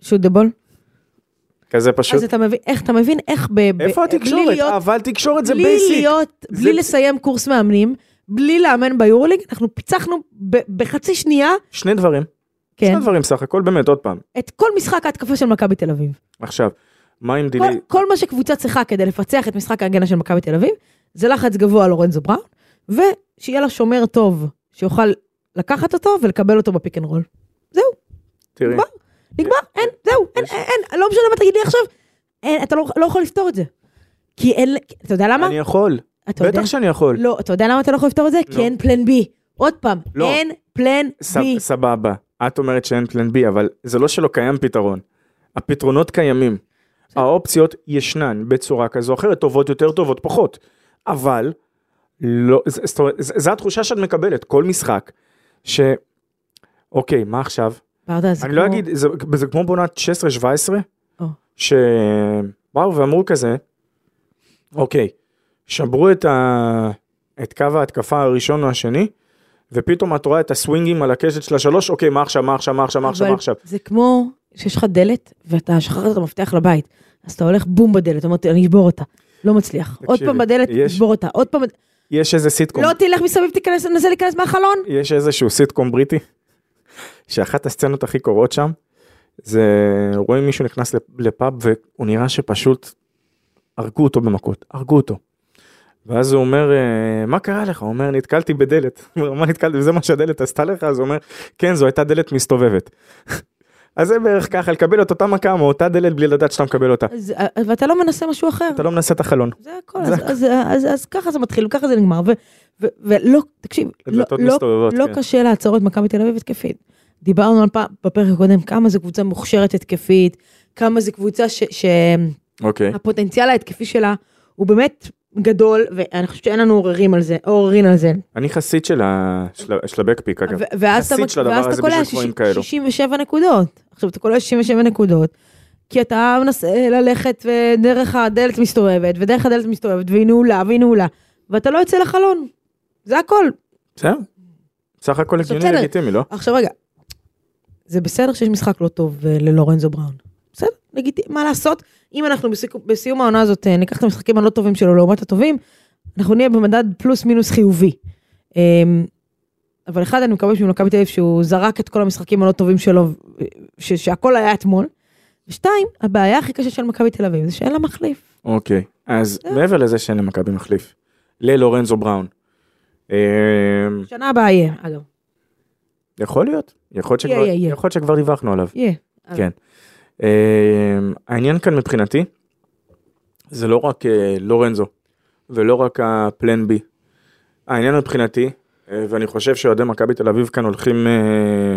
Speaker 2: שוט דה בול.
Speaker 3: כזה פשוט.
Speaker 2: אז אתה מבין, איך, אתה מבין איך ב... ב-
Speaker 3: איפה
Speaker 2: בלי
Speaker 3: התקשורת? אה,
Speaker 2: להיות
Speaker 3: אבל תקשורת זה
Speaker 2: בלי
Speaker 3: בייסיק.
Speaker 2: להיות,
Speaker 3: זה-
Speaker 2: בלי לסיים קורס מאמנים, בלי לאמן ביורוליג, אנחנו פיצחנו ב- בחצי שנייה,
Speaker 3: שני דברים.
Speaker 2: כן,
Speaker 3: שני דברים סך הכל, באמת, עוד פעם.
Speaker 2: את כל משחק ההתקפה של מכבי תל אביב.
Speaker 3: עכשיו, מה עם
Speaker 2: כל,
Speaker 3: דילי?
Speaker 2: כל מה שקבוצה צריכה כדי לפצח את משחק ההגנה של מכבי תל אביב, זה לחץ גבוה על לורנזו בראון, ושיהיה לה שומר טוב שיוכל לקחת אותו ולקבל אותו בפיק אנד רול.
Speaker 3: תראי,
Speaker 2: נגמר, נגמר, אין, זהו, אין,
Speaker 3: יש-
Speaker 2: אין, אין, לא משנה מה תגיד לי עכשיו, אין, אתה לא, לא יכול לפתור את זה. כי אין, אתה יודע למה?
Speaker 3: אני יכול.
Speaker 2: אתה יודע?
Speaker 3: בטח שאני יכול.
Speaker 2: לא, אתה יודע למה אתה לא יכול לפתור את זה? כי
Speaker 3: לא.
Speaker 2: אין פלן בי. עוד פעם,
Speaker 3: לא.
Speaker 2: אין פלן
Speaker 3: ס-
Speaker 2: בי.
Speaker 3: סבבה. את אומרת שאין פלן בי, אבל זה לא שלא קיים פתרון. הפתרונות קיימים. האופציות ישנן בצורה כזו או אחרת, טובות יותר, טובות פחות. אבל, לא, ז- זאת אומרת, ז- זו התחושה שאת מקבלת, כל משחק, ש... אוקיי, מה עכשיו?
Speaker 2: ברדה, זה
Speaker 3: אני לא
Speaker 2: כמו-
Speaker 3: אגיד, זה, זה כמו בעונת 16-17,
Speaker 2: או.
Speaker 3: שבאו ואמרו כזה, אוקיי, שברו את, ה... את קו ההתקפה הראשון או השני, ופתאום את רואה את הסווינגים על הקשת של השלוש, אוקיי, מה עכשיו, מה עכשיו, מה עכשיו, מה עכשיו,
Speaker 2: אבל
Speaker 3: מה עכשיו.
Speaker 2: זה כמו שיש לך דלת ואתה שכחת את המפתח לבית, אז אתה הולך בום בדלת, אומר, אני אשבור אותה. לא מצליח. עוד
Speaker 3: תקשיבי,
Speaker 2: פעם בדלת,
Speaker 3: יש-
Speaker 2: תשבור אותה. עוד פעם,
Speaker 3: יש איזה סיטקום,
Speaker 2: לא תלך מסביב, תיכנס, תנסה להיכנס מהחלון.
Speaker 3: יש איזשהו סיטקום בריטי, שאחת הסצנות הכי קורעות שם, זה רואים מישהו נכנס לפ- לפאב והוא נראה שפשוט הרגו אותו במכות, הרגו אותו. ואז הוא אומר, "אה, מה קרה לך? הוא אומר, נתקלתי בדלת. *laughs* הוא אומר, מה נתקלתי? זה מה שהדלת עשתה לך? אז הוא אומר, כן, זו הייתה דלת מסתובבת. *laughs* אז זה בערך ככה, לקבל את אותה מכה מאותה דלת בלי לדעת שאתה מקבל אותה.
Speaker 2: אז- אז- ואתה לא מנסה משהו אחר.
Speaker 3: אתה לא מנסה את החלון.
Speaker 2: זה הכל.
Speaker 3: זה
Speaker 2: אז- אז- אז- אז ככה זה מתחיל וככה זה נגמר. ו- ו- ולא, תקשיב, לא-
Speaker 3: הדלתות
Speaker 2: לא
Speaker 3: מסתובבות,
Speaker 2: לא
Speaker 3: כן.
Speaker 2: קשה לעצור את מכבי תל אביב התקפית. דיברנו על פעם בפרק הקודם כמה זו קבוצה מוכשרת התקפית, כמה זו קבוצה ש- שהפוטנציאל
Speaker 3: אוקיי.
Speaker 2: ההתקפי שלה הוא באמת גדול, ואני חושבת שאין לנו עוררים על זה, עוררין על זה.
Speaker 3: אני חסיד של ה- של ה- של הבקפיק, אגב.
Speaker 2: ו- ואז אתה
Speaker 3: חסיד של הדבר
Speaker 2: ואז אתה
Speaker 3: הזה בשביל
Speaker 2: קולע
Speaker 3: גבוהים
Speaker 2: שיש-
Speaker 3: כאלו.
Speaker 2: 67 נקודות. עכשיו אתה קולע 67 נקודות, כי אתה מנסה ללכת ודרך הדלת מסתובבת, ודרך הדלת מסתובבת, והיא נעולה, והיא נעולה, ואתה לא יוצא לחלון. זה הכל.
Speaker 3: בסדר. סך הכל
Speaker 2: עכשיו,
Speaker 3: הגיוני
Speaker 2: בסדר.
Speaker 3: לגיטימי, לא?
Speaker 2: עכשיו רגע, זה בסדר שיש משחק לא טוב אה, ללורנזו בראון. בסדר, לגיטימי, מה לעשות? אם אנחנו בסיכו- בסיום העונה הזאת אה, ניקח את המשחקים הלא טובים שלו לעומת הטובים, אנחנו נהיה במדד פלוס מינוס חיובי. אמ, אבל אחד, אני מקווה ממכבי תל אביב שהוא זרק את כל המשחקים הלא טובים שלו, אה, ש- שהכל היה אתמול. ושתיים, הבעיה הכי קשה של מכבי תל אביב זה שאין לה מחליף.
Speaker 3: אוקיי, אז
Speaker 2: אה.
Speaker 3: מעבר לזה שאין למכבי מחליף, ללורנזו בראון. אה,
Speaker 2: שנה הבאה יהיה, אגב.
Speaker 3: יכול להיות, יכול להיות שכבר-
Speaker 2: יהיה, יהיה.
Speaker 3: יכול להיות שכבר דיווחנו עליו.
Speaker 2: יהיה.
Speaker 3: אה, העניין כאן מבחינתי, זה לא רק אה, לורנזו, ולא רק הפלן בי. העניין מבחינתי, אה, ואני חושב שאוהדי מכבי תל אביב כאן הולכים אה,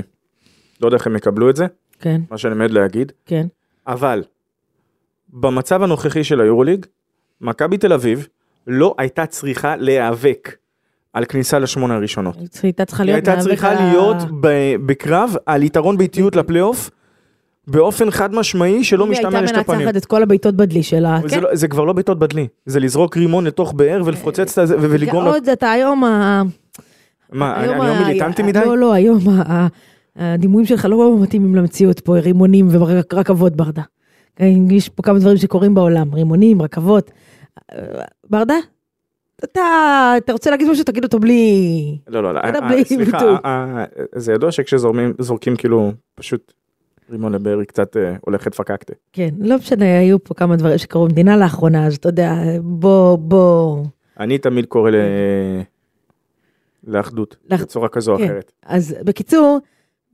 Speaker 3: לא יודע איך הם יקבלו את זה,
Speaker 2: כן,
Speaker 3: מה שאני עומד להגיד,
Speaker 2: כן.
Speaker 3: אבל במצב הנוכחי של היורוליג, מכבי תל אביב לא הייתה צריכה להיאבק על כניסה לשמונה הראשונות.
Speaker 2: היא הייתה צריכה
Speaker 3: היא
Speaker 2: להיות...
Speaker 3: הייתה
Speaker 2: מאבק
Speaker 3: צריכה
Speaker 2: על ה-
Speaker 3: להיות ב- בקרב על יתרון באיטיות לפלייאוף, באופן חד משמעי שלא לא משתמע לשתי
Speaker 2: היא הייתה
Speaker 3: פנים.
Speaker 2: מנצחת את כל הבעיטות בדלי שלה.
Speaker 3: זה
Speaker 2: כן.
Speaker 3: לא- זה כבר לא בעיטות בדלי, זה לזרוק רימון לתוך באר ולפוצץ את זה ו- ולגרום... לה-
Speaker 2: ועוד אתה היום ה...
Speaker 3: מה, לא- אני
Speaker 2: היום
Speaker 3: אני לא
Speaker 2: ה-
Speaker 3: מיליטנטי
Speaker 2: ה-
Speaker 3: מדי?
Speaker 2: לא, לא, היום ה- ה- הדימויים שלך לא מתאימים למציאות פה, רימונים ורכבות ברדה. כן, יש פה כמה דברים שקורים בעולם, רימונים, רכבות. אה, ברדה, אתה אתה רוצה להגיד משהו, תגיד אותו בלי...
Speaker 3: לא, לא, לא,
Speaker 2: אתה
Speaker 3: אה,
Speaker 2: בלי
Speaker 3: סליחה,
Speaker 2: ביטוי.
Speaker 3: אה, אה, זה ידוע שכשזורמים, זורקים כאילו פשוט רימון לבאר היא קצת אה, הולכת פקקטה.
Speaker 2: כן, לא משנה, היו פה כמה דברים שקרו במדינה לאחרונה, אז אתה יודע, בוא, בוא...
Speaker 3: אני תמיד קורא ל... לאחדות,
Speaker 2: לאח-
Speaker 3: בצורה כזו או
Speaker 2: כן.
Speaker 3: אחרת.
Speaker 2: אז בקיצור,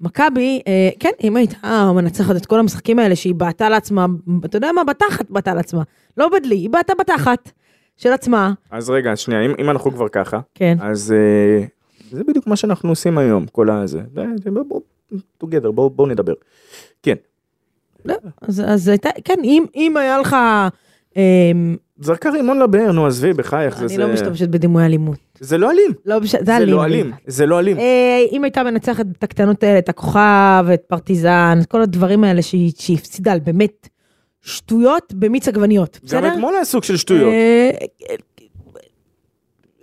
Speaker 2: מכבי, אה, כן, אם הייתה מנצחת את כל המשחקים האלה שהיא בעטה לעצמה, אתה יודע מה? בתחת בעטה לעצמה. לא בדלי, היא בעטה בתחת של עצמה.
Speaker 3: אז רגע, אז שנייה, אם, אם אנחנו כבר ככה,
Speaker 2: כן.
Speaker 3: אז אה, זה בדיוק מה שאנחנו עושים היום, כל הזה. די, די, בואו, בואו, together, בואו בואו נדבר. כן.
Speaker 2: לא, אז, אז הייתה, כן, אם, אם היה לך... אה,
Speaker 3: זרקה רימון לבאר, נו עזבי, בחייך, זה,
Speaker 2: אני
Speaker 3: זה,
Speaker 2: לא משתמשת בדימוי אלימות.
Speaker 3: זה לא אלים,
Speaker 2: לא, מש- זה
Speaker 3: זה
Speaker 2: אלים.
Speaker 3: לא אלים, זה לא אלים.
Speaker 2: אה, אם הייתה מנצחת את הקטנות האלה, את הכוכב, את פרטיזן, את כל הדברים האלה שהיא שהיא הפסידה על באמת שטויות במיץ עגבניות, בסדר?
Speaker 3: גם אתמול היה סוג של שטויות.
Speaker 2: אה, אה,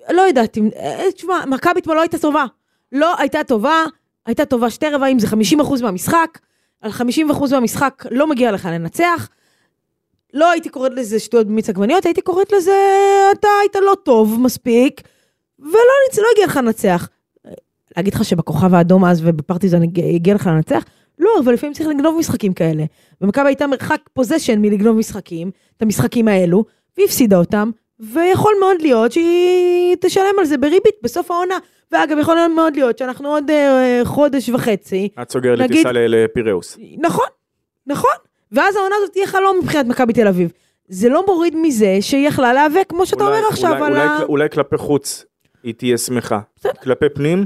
Speaker 2: אה, לא יודעת, אם- אה, תשמע, מכבי אתמול לא הייתה טובה. לא הייתה טובה, הייתה טובה שתי רבעים, זה 50% מהמשחק. על 50% מהמשחק לא מגיע לך לנצח. לא הייתי קוראת לזה שטויות במיץ עגבניות, הייתי קוראת לזה, אתה היית לא טוב מספיק, ולא ניצ- לא הגיע לך לנצח. אה, להגיד לך שבכוכב האדום אז ובפרטיזן הגיע- הגיע לך לנצח? לא, אבל לפעמים צריך לגנוב משחקים כאלה. ומכבי הייתה מרחק פוזיישן מלגנוב משחקים, את המשחקים האלו, והיא הפסידה אותם, ויכול מאוד להיות שהיא תשלם על זה בריבית בסוף העונה. ואגב, יכול מאוד להיות שאנחנו עוד אה, חודש וחצי,
Speaker 3: את סוגרת לי
Speaker 2: אה, נגיד-
Speaker 3: טיסה ל- לפיראוס.
Speaker 2: נכון, נכון, ואז העונה הזאת תהיה חלום מבחינת מכבי תל אביב. זה לא מוריד מזה שהיא יכלה להיאבק, כמו שאתה
Speaker 3: אולי-
Speaker 2: אומר עכשיו,
Speaker 3: אולי-
Speaker 2: על
Speaker 3: אולי-
Speaker 2: ה...
Speaker 3: אולי כלפי חוץ היא תהיה שמחה. כלפי פנים,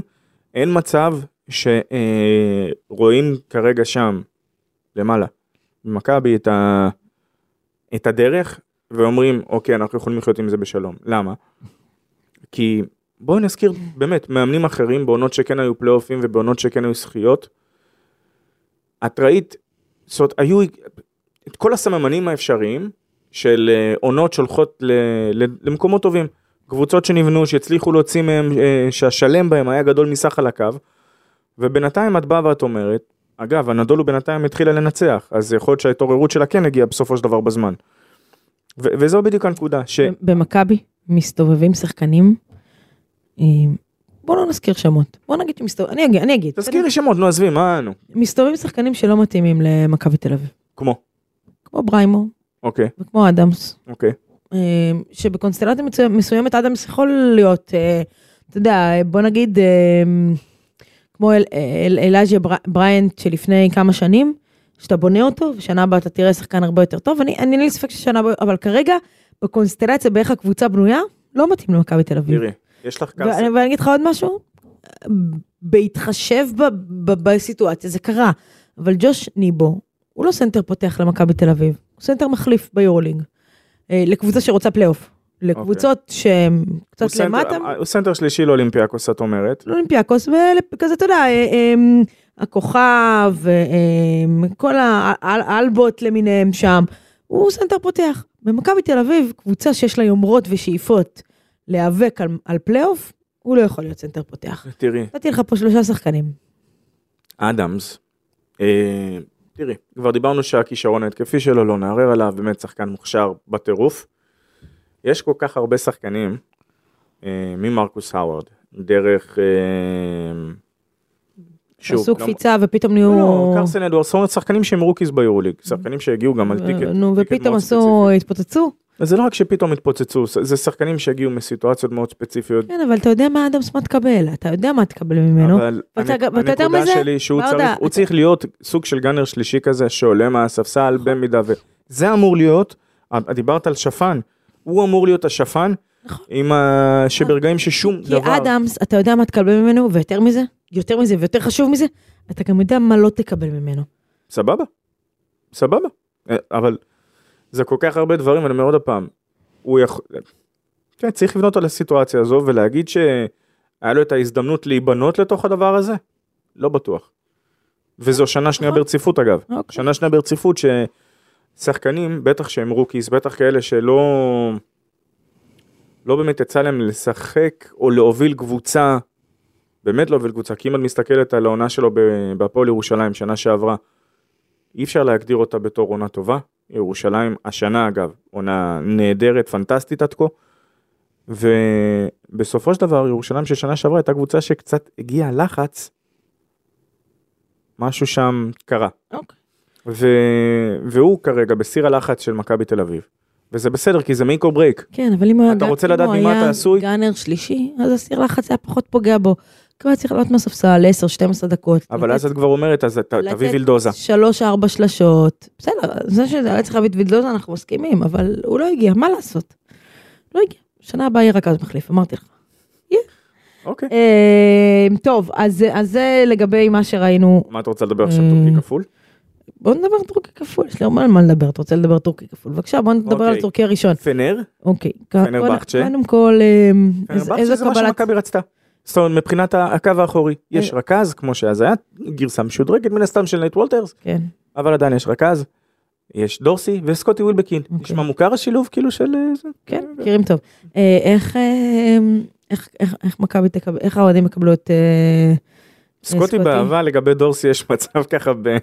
Speaker 3: אין מצב שרואים כרגע שם, למעלה, במכבי את ה- את הדרך, ואומרים, אוקיי, אנחנו יכולים לחיות עם זה בשלום. למה? כי בואו נזכיר באמת מאמנים אחרים בעונות שכן היו פלייאופים ובעונות שכן היו זכיות. את ראית, זאת אומרת, היו את כל הסממנים האפשריים של אה, עונות שהולכות ל, ל, למקומות טובים. קבוצות שנבנו, שהצליחו להוציא מהם, אה, שהשלם בהם היה גדול מסך על הקו, ובינתיים את באה ואת אומרת, אגב, הנדולו בינתיים התחילה לנצח, אז יכול להיות שההתעוררות שלה כן הגיעה בסופו של דבר בזמן. ו- וזו בדיוק הנקודה, ש...
Speaker 2: כן. במכבי מסתובבים שחקנים, אה, בוא לא נזכיר שמות, בוא נגיד שמסתובבים, אני אגיד, אני אגיד,
Speaker 3: תזכירי שמות, נו עזבי, מה נו?
Speaker 2: מסתובבים שחקנים שלא מתאימים למכבי תל אביב,
Speaker 3: כמו,
Speaker 2: כמו בריימו
Speaker 3: אוקיי,
Speaker 2: וכמו אדמס.
Speaker 3: אוקיי.
Speaker 2: אה, שבקונסטלציה מצו- מסוימת אדמס יכול להיות, אה, אתה יודע, בוא נגיד, אה, כמו אל- אל- אלאז'ה בר- בריינט שלפני כמה שנים, שאתה בונה אותו, ושנה הבאה אתה תראה שחקן הרבה יותר טוב, אני, אני אין לי ספק ששנה הבאה, אבל כרגע, בקונסטלציה, באיך הקבוצה בנויה, לא מתאים למכבי תל אביב.
Speaker 3: תראי, יש לך
Speaker 2: ואני
Speaker 3: קרסם.
Speaker 2: ואני אגיד לך עוד משהו, בהתחשב ב, ב, בסיטואציה, זה קרה, אבל ג'וש ניבו, הוא לא סנטר פותח למכבי תל אביב, הוא סנטר מחליף ביורלינג, אה, לקבוצה שרוצה פלייאוף, לקבוצות שהן
Speaker 3: אוקיי. הוא
Speaker 2: קצת
Speaker 3: סנטר- אה,
Speaker 2: למטה, לא.
Speaker 3: הוא סנטר שלישי לאולימפיאקוס, את אומרת.
Speaker 2: לאולימפיאקוס, וכזה, אתה יודע, אה, אה, הכוכב, אה, אה, כל האלבוט למיניהם שם, הוא סנטר פותח. במכבי תל אביב, קבוצה שיש לה יומרות ושאיפות להיאבק על, על פלייאוף, הוא לא יכול להיות סנטר פותח.
Speaker 3: תראי,
Speaker 2: נתתי לך פה שלושה שחקנים.
Speaker 3: אדמס, אה, תראי, כבר דיברנו שהכישרון ההתקפי שלו, לא נערער עליו, באמת שחקן מוכשר בטירוף. יש כל כך הרבה שחקנים, אה, ממרקוס האוורד, דרך... אה,
Speaker 2: עשו
Speaker 3: לא-
Speaker 2: קפיצה ופתאום נהיו...
Speaker 3: לא, קרסן אדוארס, זאת אומרת, שחקנים שהם רוקיז ביורוליג, שחקנים שהגיעו גם על טיקט.
Speaker 2: אה, נו,
Speaker 3: טיקט
Speaker 2: ופתאום
Speaker 3: מאוד
Speaker 2: עשו, התפוצצו.
Speaker 3: אז זה לא רק שפתאום התפוצצו, זה שחקנים שהגיעו מסיטואציות מאוד ספציפיות.
Speaker 2: כן, אבל אתה יודע מה אדם סמאט תקבל, אתה יודע מה תקבל ממנו.
Speaker 3: אבל
Speaker 2: ואתה
Speaker 3: הנק-
Speaker 2: גם- ואתה יודע
Speaker 3: הנקודה
Speaker 2: מה זה?
Speaker 3: שלי שהוא
Speaker 2: ברדה,
Speaker 3: צריך, הוא
Speaker 2: אתה-
Speaker 3: צריך להיות סוג של גאנר שלישי כזה שעולה מהספסל
Speaker 2: נכון.
Speaker 3: במידה ו... זה אמור להיות, אה, דיברת על שפן, הוא אמור להיות השפן,
Speaker 2: נכון.
Speaker 3: עם ה... שברגעים ששום
Speaker 2: כי
Speaker 3: דבר...
Speaker 2: אדמס, אתה יודע מה תקבל ממנו, ויותר מזה, יותר מזה ויותר חשוב מזה, אתה גם יודע מה לא תקבל ממנו.
Speaker 3: סבבה, סבבה. אה, אבל זה כל כך הרבה דברים, אני אומר עוד פעם, הוא יכול... כן, צריך לבנות על הסיטואציה הזו ולהגיד שהיה לו את ההזדמנות להיבנות לתוך הדבר הזה? לא בטוח. וזו שנה שנייה
Speaker 2: נכון.
Speaker 3: ברציפות אגב.
Speaker 2: אוקיי.
Speaker 3: שנה שנייה ברציפות ששחקנים, בטח שהם רוקיס, בטח כאלה שלא... לא באמת יצא להם לשחק או להוביל קבוצה, באמת להוביל קבוצה, כי אם את מסתכלת על העונה שלו ב- בהפועל ירושלים שנה שעברה, אי אפשר להגדיר אותה בתור עונה טובה. ירושלים השנה אגב, עונה נהדרת, פנטסטית עד כה. ובסופו של דבר ירושלים של שנה שעברה הייתה קבוצה שקצת הגיעה לחץ, משהו שם קרה.
Speaker 2: אוקיי.
Speaker 3: ו... והוא כרגע בסיר הלחץ של מכבי תל אביב. וזה בסדר כי זה make or break.
Speaker 2: כן, אבל אם הוא
Speaker 3: אתה
Speaker 2: היה-
Speaker 3: רוצה
Speaker 2: אם
Speaker 3: לדעת
Speaker 2: הוא
Speaker 3: ממה
Speaker 2: היה
Speaker 3: אתה עשוי?
Speaker 2: גאנר שלישי, אז הסיר לחץ היה פחות פוגע בו. כבר היה צריך לעלות מהספסל 10-12 דקות.
Speaker 3: אבל
Speaker 2: לתת
Speaker 3: אז את כבר אומרת אז אתה
Speaker 2: אוקיי. לתת
Speaker 3: תביא וילדוזה.
Speaker 2: שלוש ארבע שלשות, בסדר, זה שזה היה צריך להביא את וילדוזה אנחנו מסכימים, אבל הוא לא הגיע, מה לעשות? לא הגיע, שנה הבאה יהיה רכז מחליף, אמרתי לך.
Speaker 3: אוקיי.
Speaker 2: אה, טוב, אז, אז זה לגבי מה שראינו,
Speaker 3: מה את רוצה לדבר עכשיו
Speaker 2: אה,
Speaker 3: טורקי כפול?
Speaker 2: בוא נדבר טורקי כפול, יש לי הרבה על מה לדבר, אתה רוצה לדבר טורקי כפול, בבקשה בוא נדבר
Speaker 3: אוקיי.
Speaker 2: על טורקי הראשון.
Speaker 3: פנר?
Speaker 2: אוקיי,
Speaker 3: פנרבחצ'ה.
Speaker 2: קודם כל, אה, איזה-
Speaker 3: פנרבחצ'ה
Speaker 2: איזה
Speaker 3: זה מה
Speaker 2: קבלת,
Speaker 3: שמכבי רצתה. זאת אומרת מבחינת הקו האחורי יש
Speaker 2: אה.
Speaker 3: רכז כמו שאז היה גרסה משודרגת מן הסתם של נייט וולטרס
Speaker 2: כן,
Speaker 3: אבל עדיין יש רכז. יש דורסי וסקוטי ווילבקין.
Speaker 2: אוקיי.
Speaker 3: נשמע מוכר השילוב כאילו של אה, זה?
Speaker 2: כן, מכירים טוב. אה, איך, אה, איך, איך, איך מכבי תקבל, איך האוהדים יקבלו את, אה,
Speaker 3: סקוטי
Speaker 2: סקוטי.
Speaker 3: באהבה לגבי דורסי יש מצב ככה ב...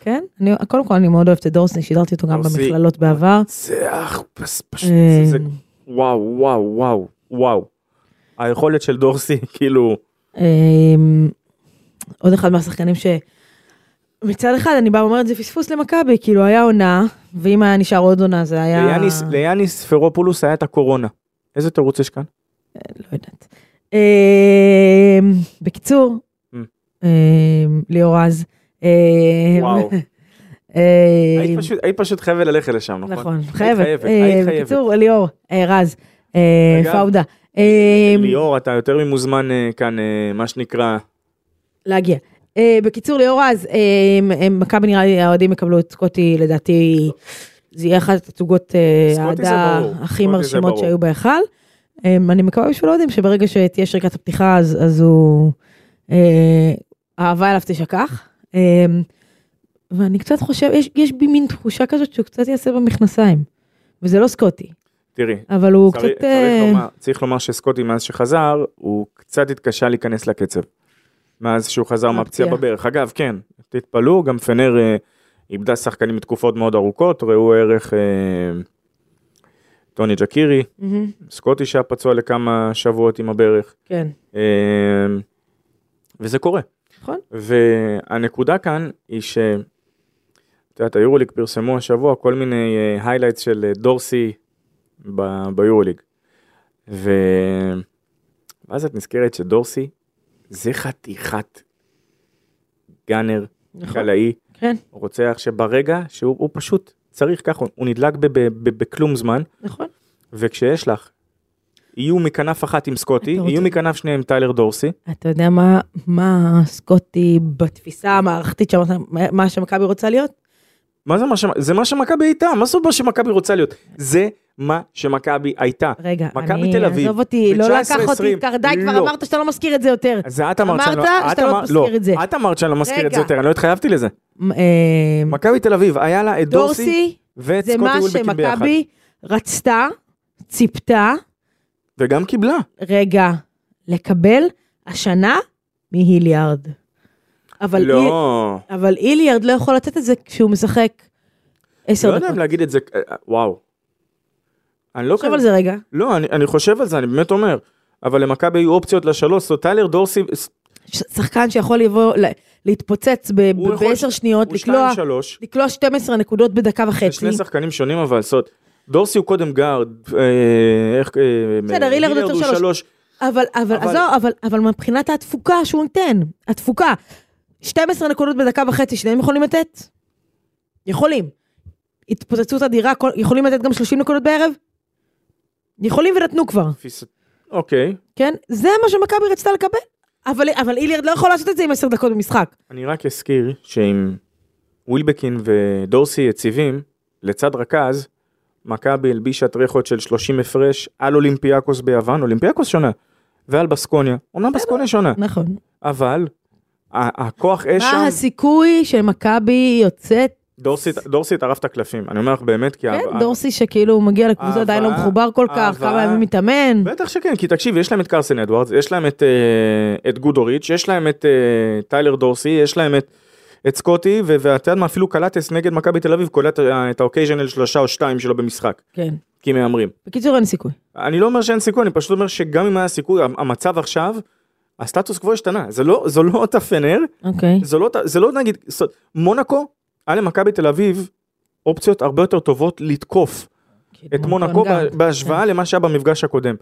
Speaker 2: כן? אני, קודם כל אני מאוד אוהבת את דורסני, שידרתי אותו גם
Speaker 3: דורסני.
Speaker 2: במכללות בעבר.
Speaker 3: זה אח, פס- פשוט,
Speaker 2: אה,
Speaker 3: זה- זה- וואו, וואו, וואו, וואו. היכולת של דורסי, *laughs* כאילו,
Speaker 2: אמ, עוד אחד מהשחקנים ש... מצד אחד אני באה ואומרת זה פספוס למכבי, כאילו היה עונה, ואם היה נשאר עוד עונה זה היה... לא
Speaker 3: ליאניס- ליאניס פרופולוס היה את הקורונה. איזה תירוץ יש כאן?
Speaker 2: לא יודעת. אמ, בקיצור,
Speaker 3: Mm.
Speaker 2: אמ, ליאור אז. אמ,
Speaker 3: וואו.
Speaker 2: *laughs* אמ,
Speaker 3: היית פשוט- היית פשוט חייבת ללכת לשם, נכון?
Speaker 2: נכון, חייבת.
Speaker 3: חייבת,
Speaker 2: אה,
Speaker 3: היית חייבת.
Speaker 2: בקיצור, ליאור, אה, רז, אה,
Speaker 3: אגב,
Speaker 2: פאודה. אה,
Speaker 3: ליאור, אתה יותר ממוזמן אה, כאן, אה, מה שנקרא,
Speaker 2: להגיע. אה, בקיצור, ליאור אז, אה, הם- הם- מכבי נראה לי, האוהדים יקבלו את סקוטי, לדעתי, זה יהיה אחת התצוגות אה,
Speaker 3: סקוטי זה
Speaker 2: האהדה
Speaker 3: ברור, סקוטי
Speaker 2: הכי
Speaker 3: זה
Speaker 2: מרשימות
Speaker 3: ברור.
Speaker 2: שהיו בהיכל. אה, אני מקווה בשביל האוהדים שברגע שתהיה שריקת הפתיחה, אז אז הוא... אה, האהבה אליו תשכח. אה, ואני קצת חושב, יש- יש בי מין תחושה כזאת שהוא קצת יעשה במכנסיים. וזה לא סקוטי,
Speaker 3: תראי,
Speaker 2: אבל הוא
Speaker 3: צריך-
Speaker 2: קצת...
Speaker 3: צריך
Speaker 2: אה,
Speaker 3: לומר- צריך לומר שסקוטי מאז שחזר, הוא קצת התקשה להיכנס לקצב. מאז שהוא
Speaker 2: אה,
Speaker 3: חזר מהפציעה
Speaker 2: מהפציעה.
Speaker 3: בברך. אגב, כן, תתפלאו, גם פנר אה, איבדה שחקנים מתקופות מאוד ארוכות, ראו ערך אה, טוני ג'קירי,
Speaker 2: מהמם,
Speaker 3: סקוטי שהיה פצוע לכמה שבועות עם הברך.
Speaker 2: כן,
Speaker 3: אה, וזה קורה.
Speaker 2: נכון?
Speaker 3: והנקודה כאן היא ש... את יודעת, היורוליג פרסמו השבוע כל מיני היילייטס של אה, דורסי ב- ביורוליג. ו... ואז את נזכרת שדורסי זה חתיכת גאנר,
Speaker 2: נכון,
Speaker 3: חלאי,
Speaker 2: כן,
Speaker 3: רוצח שברגע שהוא הוא פשוט צריך ככה, הוא נדלק ב- ב- ב- בכלום זמן,
Speaker 2: נכון.
Speaker 3: וכשיש לך יהיו מכנף אחת עם סקוטי,
Speaker 2: אתה רוצה-
Speaker 3: יהיו מכנף שנייה עם טיילר דורסי,
Speaker 2: אתה יודע מה, מה סקוטי בתפיסה המערכתית שאמרת, מה- מה שמכבי רוצה להיות?
Speaker 3: מה זה מה ש... זה מה שמכבי הייתה, מה זאת מה שמכבי רוצה להיות? זה מה שמכבי הייתה.
Speaker 2: רגע,
Speaker 3: מכבי
Speaker 2: אני,
Speaker 3: תל אביב,
Speaker 2: עזוב אותי, לא
Speaker 3: 19-20,
Speaker 2: לקח אותי, כך, די, כבר
Speaker 3: לא.
Speaker 2: אמרת שאתה לא מזכיר את זה יותר.
Speaker 3: אז זה את אמרת שאני לא...
Speaker 2: אמרת
Speaker 3: את
Speaker 2: שאתה לא
Speaker 3: אמר-
Speaker 2: מזכיר את זה.
Speaker 3: את אמרת שאני לא מזכיר את
Speaker 2: רגע.
Speaker 3: זה יותר, אני לא התחייבתי לזה.
Speaker 2: אה,
Speaker 3: מכבי תל אביב, היה לה את דורסי
Speaker 2: דורסי
Speaker 3: ואת
Speaker 2: זה
Speaker 3: סקוטי
Speaker 2: מה
Speaker 3: וולבקין ביחד.
Speaker 2: שמכבי רצתה, ציפתה,
Speaker 3: וגם קיבלה.
Speaker 2: רגע, לקבל השנה מהיליארד. אבל, איל,
Speaker 3: לא,
Speaker 2: אבל איליארד לא יכול לתת את זה כשהוא משחק עשר
Speaker 3: לא יודע אם
Speaker 2: דקות.
Speaker 3: להגיד את זה, אה, וואו. אני לא
Speaker 2: תחשוב
Speaker 3: כזה-
Speaker 2: על זה רגע.
Speaker 3: לא, אני- אני חושב על זה, אני באמת אומר. אבל למכבי היו אופציות לשלוש, זאת טיילר דורסי, ס-
Speaker 2: ש- שחקן שיכול לבוא, ל- להתפוצץ ב- ב-
Speaker 3: הוא יכול-
Speaker 2: בעשר שניות,
Speaker 3: הוא
Speaker 2: לקלוע,
Speaker 3: שתיים שלוש.
Speaker 2: לקלוע 12 נקודות בדקה
Speaker 3: זה
Speaker 2: וחצי.
Speaker 3: שני שחקנים שונים אבל זאת. דורסי הוא קודם גארד, אה, איך... אה,
Speaker 2: בסדר,
Speaker 3: אה,
Speaker 2: הילארד הוא שלוש. אבל, אבל,
Speaker 3: אבל-
Speaker 2: אבל... עזוב, אבל, אבל מבחינת התפוקה שהוא נותן, התפוקה, 12 נקודות בדקה וחצי, שניהם יכולים לתת? יכולים. התפוצצות אדירה, כל- יכולים לתת גם 30 נקודות בערב? יכולים ונתנו כבר,
Speaker 3: תפיסת- אוקיי,
Speaker 2: כן? זה מה שמכבי רצתה לקבל. אבל, אבל איליארד לא יכול לעשות את זה עם עשר דקות במשחק.
Speaker 3: אני רק אזכיר שאם ווילבקין ודורסי יציבים, לצד רכז, מכבי הלבישה טרחות של 30 הפרש על אולימפיאקוס ביוון, אולימפיאקוס שונה, ועל בסקוניה, אומנם בסקוניה שונה,
Speaker 2: נכון.
Speaker 3: אבל ה- הכוח אש
Speaker 2: מה
Speaker 3: שם,
Speaker 2: הסיכוי שמכבי יוצאת,
Speaker 3: דורסי- דורסי טרף את הקלפים, אני אומר לך באמת, כי... ה-
Speaker 2: כן, דורסי שכאילו הוא מגיע לקבוצה
Speaker 3: אבל-
Speaker 2: עדיין לא מחובר כל כך,
Speaker 3: אבל-
Speaker 2: כמה ימים מתאמן.
Speaker 3: בטח שכן, כי תקשיב, יש להם את קרסן אדוארדס, יש להם את, אה, את גודוריץ', יש להם את אה, טיילר דורסי, יש להם את, את סקוטי, ו- ואתה יודע מה, אפילו קלטס נגד מכבי תל אביב קולט אה, את האוקייז'נל שלושה או שתיים שלו במשחק,
Speaker 2: כן.
Speaker 3: כי מהמרים.
Speaker 2: בקיצור אין סיכוי.
Speaker 3: אני לא אומר שאין סיכוי, אני פשוט אומר שגם אם היה סיכוי, המצב עכשיו, הסטטוס קוו השתנה, זה לא, זה לא אותה פנר,
Speaker 2: אוקיי.
Speaker 3: זה לא, זה לא נגיד, ס- מונאקו, היה למכבי תל אביב אופציות הרבה יותר טובות לתקוף
Speaker 2: כאילו,
Speaker 3: את מונאקו
Speaker 2: גם.
Speaker 3: בה-
Speaker 2: כן.
Speaker 3: בהשוואה למה שהיה במפגש הקודם.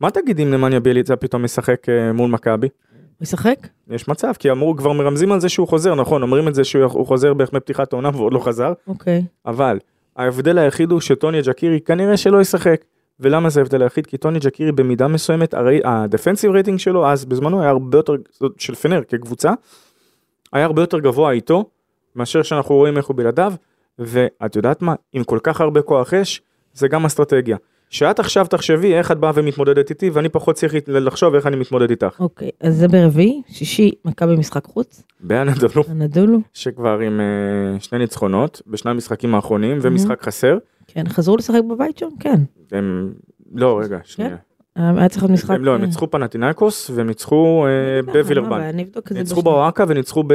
Speaker 3: מה תגיד אם נמניה ביליצה פתאום משחק אה, מול מכבי?
Speaker 2: הוא ישחק?
Speaker 3: יש מצב, כי אמרו, כבר מרמזים על זה שהוא חוזר, נכון, אומרים את זה שהוא הוא חוזר בערך מפתיחת העונה ועוד לא חזר,
Speaker 2: אוקיי.
Speaker 3: אבל ההבדל היחיד הוא שטוני ג'קירי כנראה שלא ישחק. ולמה זה ההבדל היחיד? כי טוני ג'קירי במידה מסוימת, הרי הדפנסיב רייטינג שלו אז בזמנו היה הרבה יותר, זאת של פנר כקבוצה, היה הרבה יותר גבוה איתו, מאשר שאנחנו רואים איך הוא בלעדיו, ואת יודעת מה, עם כל כך הרבה כוח אש, זה גם אסטרטגיה. שאת עכשיו תחשבי איך את באה ומתמודדת איתי, ואני פחות צריך לחשוב איך אני מתמודד איתך.
Speaker 2: אוקיי, אז זה ברביעי, שישי, מכבי משחק חוץ,
Speaker 3: באנדלו,
Speaker 2: הנדולו.
Speaker 3: שכבר עם אה, שני ניצחונות, בשני המשחקים האחרונים, ומשחק חסר,
Speaker 2: כן, חזרו לשחק בבית שם? כן.
Speaker 3: הם... לא, רגע, שנייה.
Speaker 2: היה צריך להיות משחק...
Speaker 3: הם לא, הם ניצחו פנטינאיקוס והם ניצחו אה,
Speaker 2: אה, מה
Speaker 3: בווילרבן.
Speaker 2: הבעיה? אני אבדוק את זה.
Speaker 3: ניצחו
Speaker 2: בשנייה.
Speaker 3: באואקה וניצחו ב-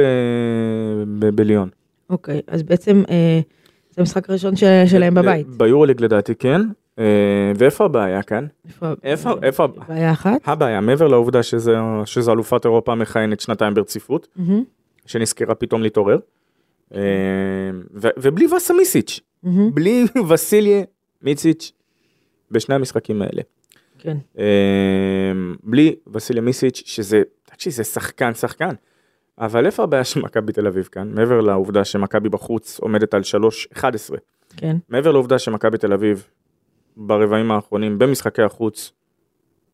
Speaker 3: ב- בליון.
Speaker 2: אוקיי, אז בעצם אה, זה המשחק הראשון של- שלהם בבית.
Speaker 3: ל- ביורוליג לדעתי כן. אה, ואיפה הבעיה כאן?
Speaker 2: איפה? אה,
Speaker 3: איפה- איפה הבעיה?
Speaker 2: בעיה אחת.
Speaker 3: הבעיה, מעבר לעובדה שזה- שזו אלופת אירופה מכהנת שנתיים ברציפות,
Speaker 2: מהמם,
Speaker 3: שנזכרה פתאום להתעורר. אה, ו- ובלי וסה מיסיץ',
Speaker 2: מהמם,
Speaker 3: בלי *laughs* וסיליה מיציץ' בשני המשחקים האלה.
Speaker 2: כן.
Speaker 3: אמ, בלי וסיליה מיסיץ' שזה, תקשיב, זה שחקן שחקן. אבל איפה הבעיה של מכבי תל אביב כאן? מעבר לעובדה שמכבי בחוץ עומדת על 3-11,
Speaker 2: כן.
Speaker 3: מעבר לעובדה שמכבי תל אביב ברבעים האחרונים במשחקי החוץ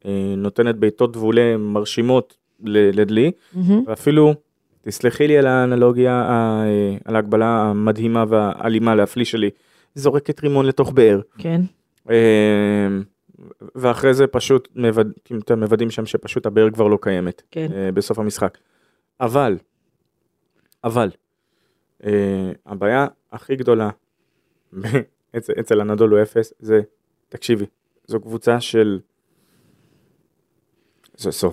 Speaker 3: אה, נותנת בעיטות דבולה מרשימות ל- לדלי,
Speaker 2: מהמם,
Speaker 3: ואפילו, תסלחי לי על האנלוגיה, ה- אה, על ההגבלה המדהימה והאלימה להפליא שלי, זורקת רימון לתוך באר.
Speaker 2: כן.
Speaker 3: אמ, ואחרי זה פשוט מווד- כאילו, אתה יודע, מוודאים שם שפשוט הבאר כבר לא קיימת
Speaker 2: כן.
Speaker 3: אה, בסוף המשחק. אבל, אבל, אה, הבעיה הכי גדולה *laughs* אצל- אצל הנדולו אפס זה, תקשיבי, זו קבוצה של... זו, זו,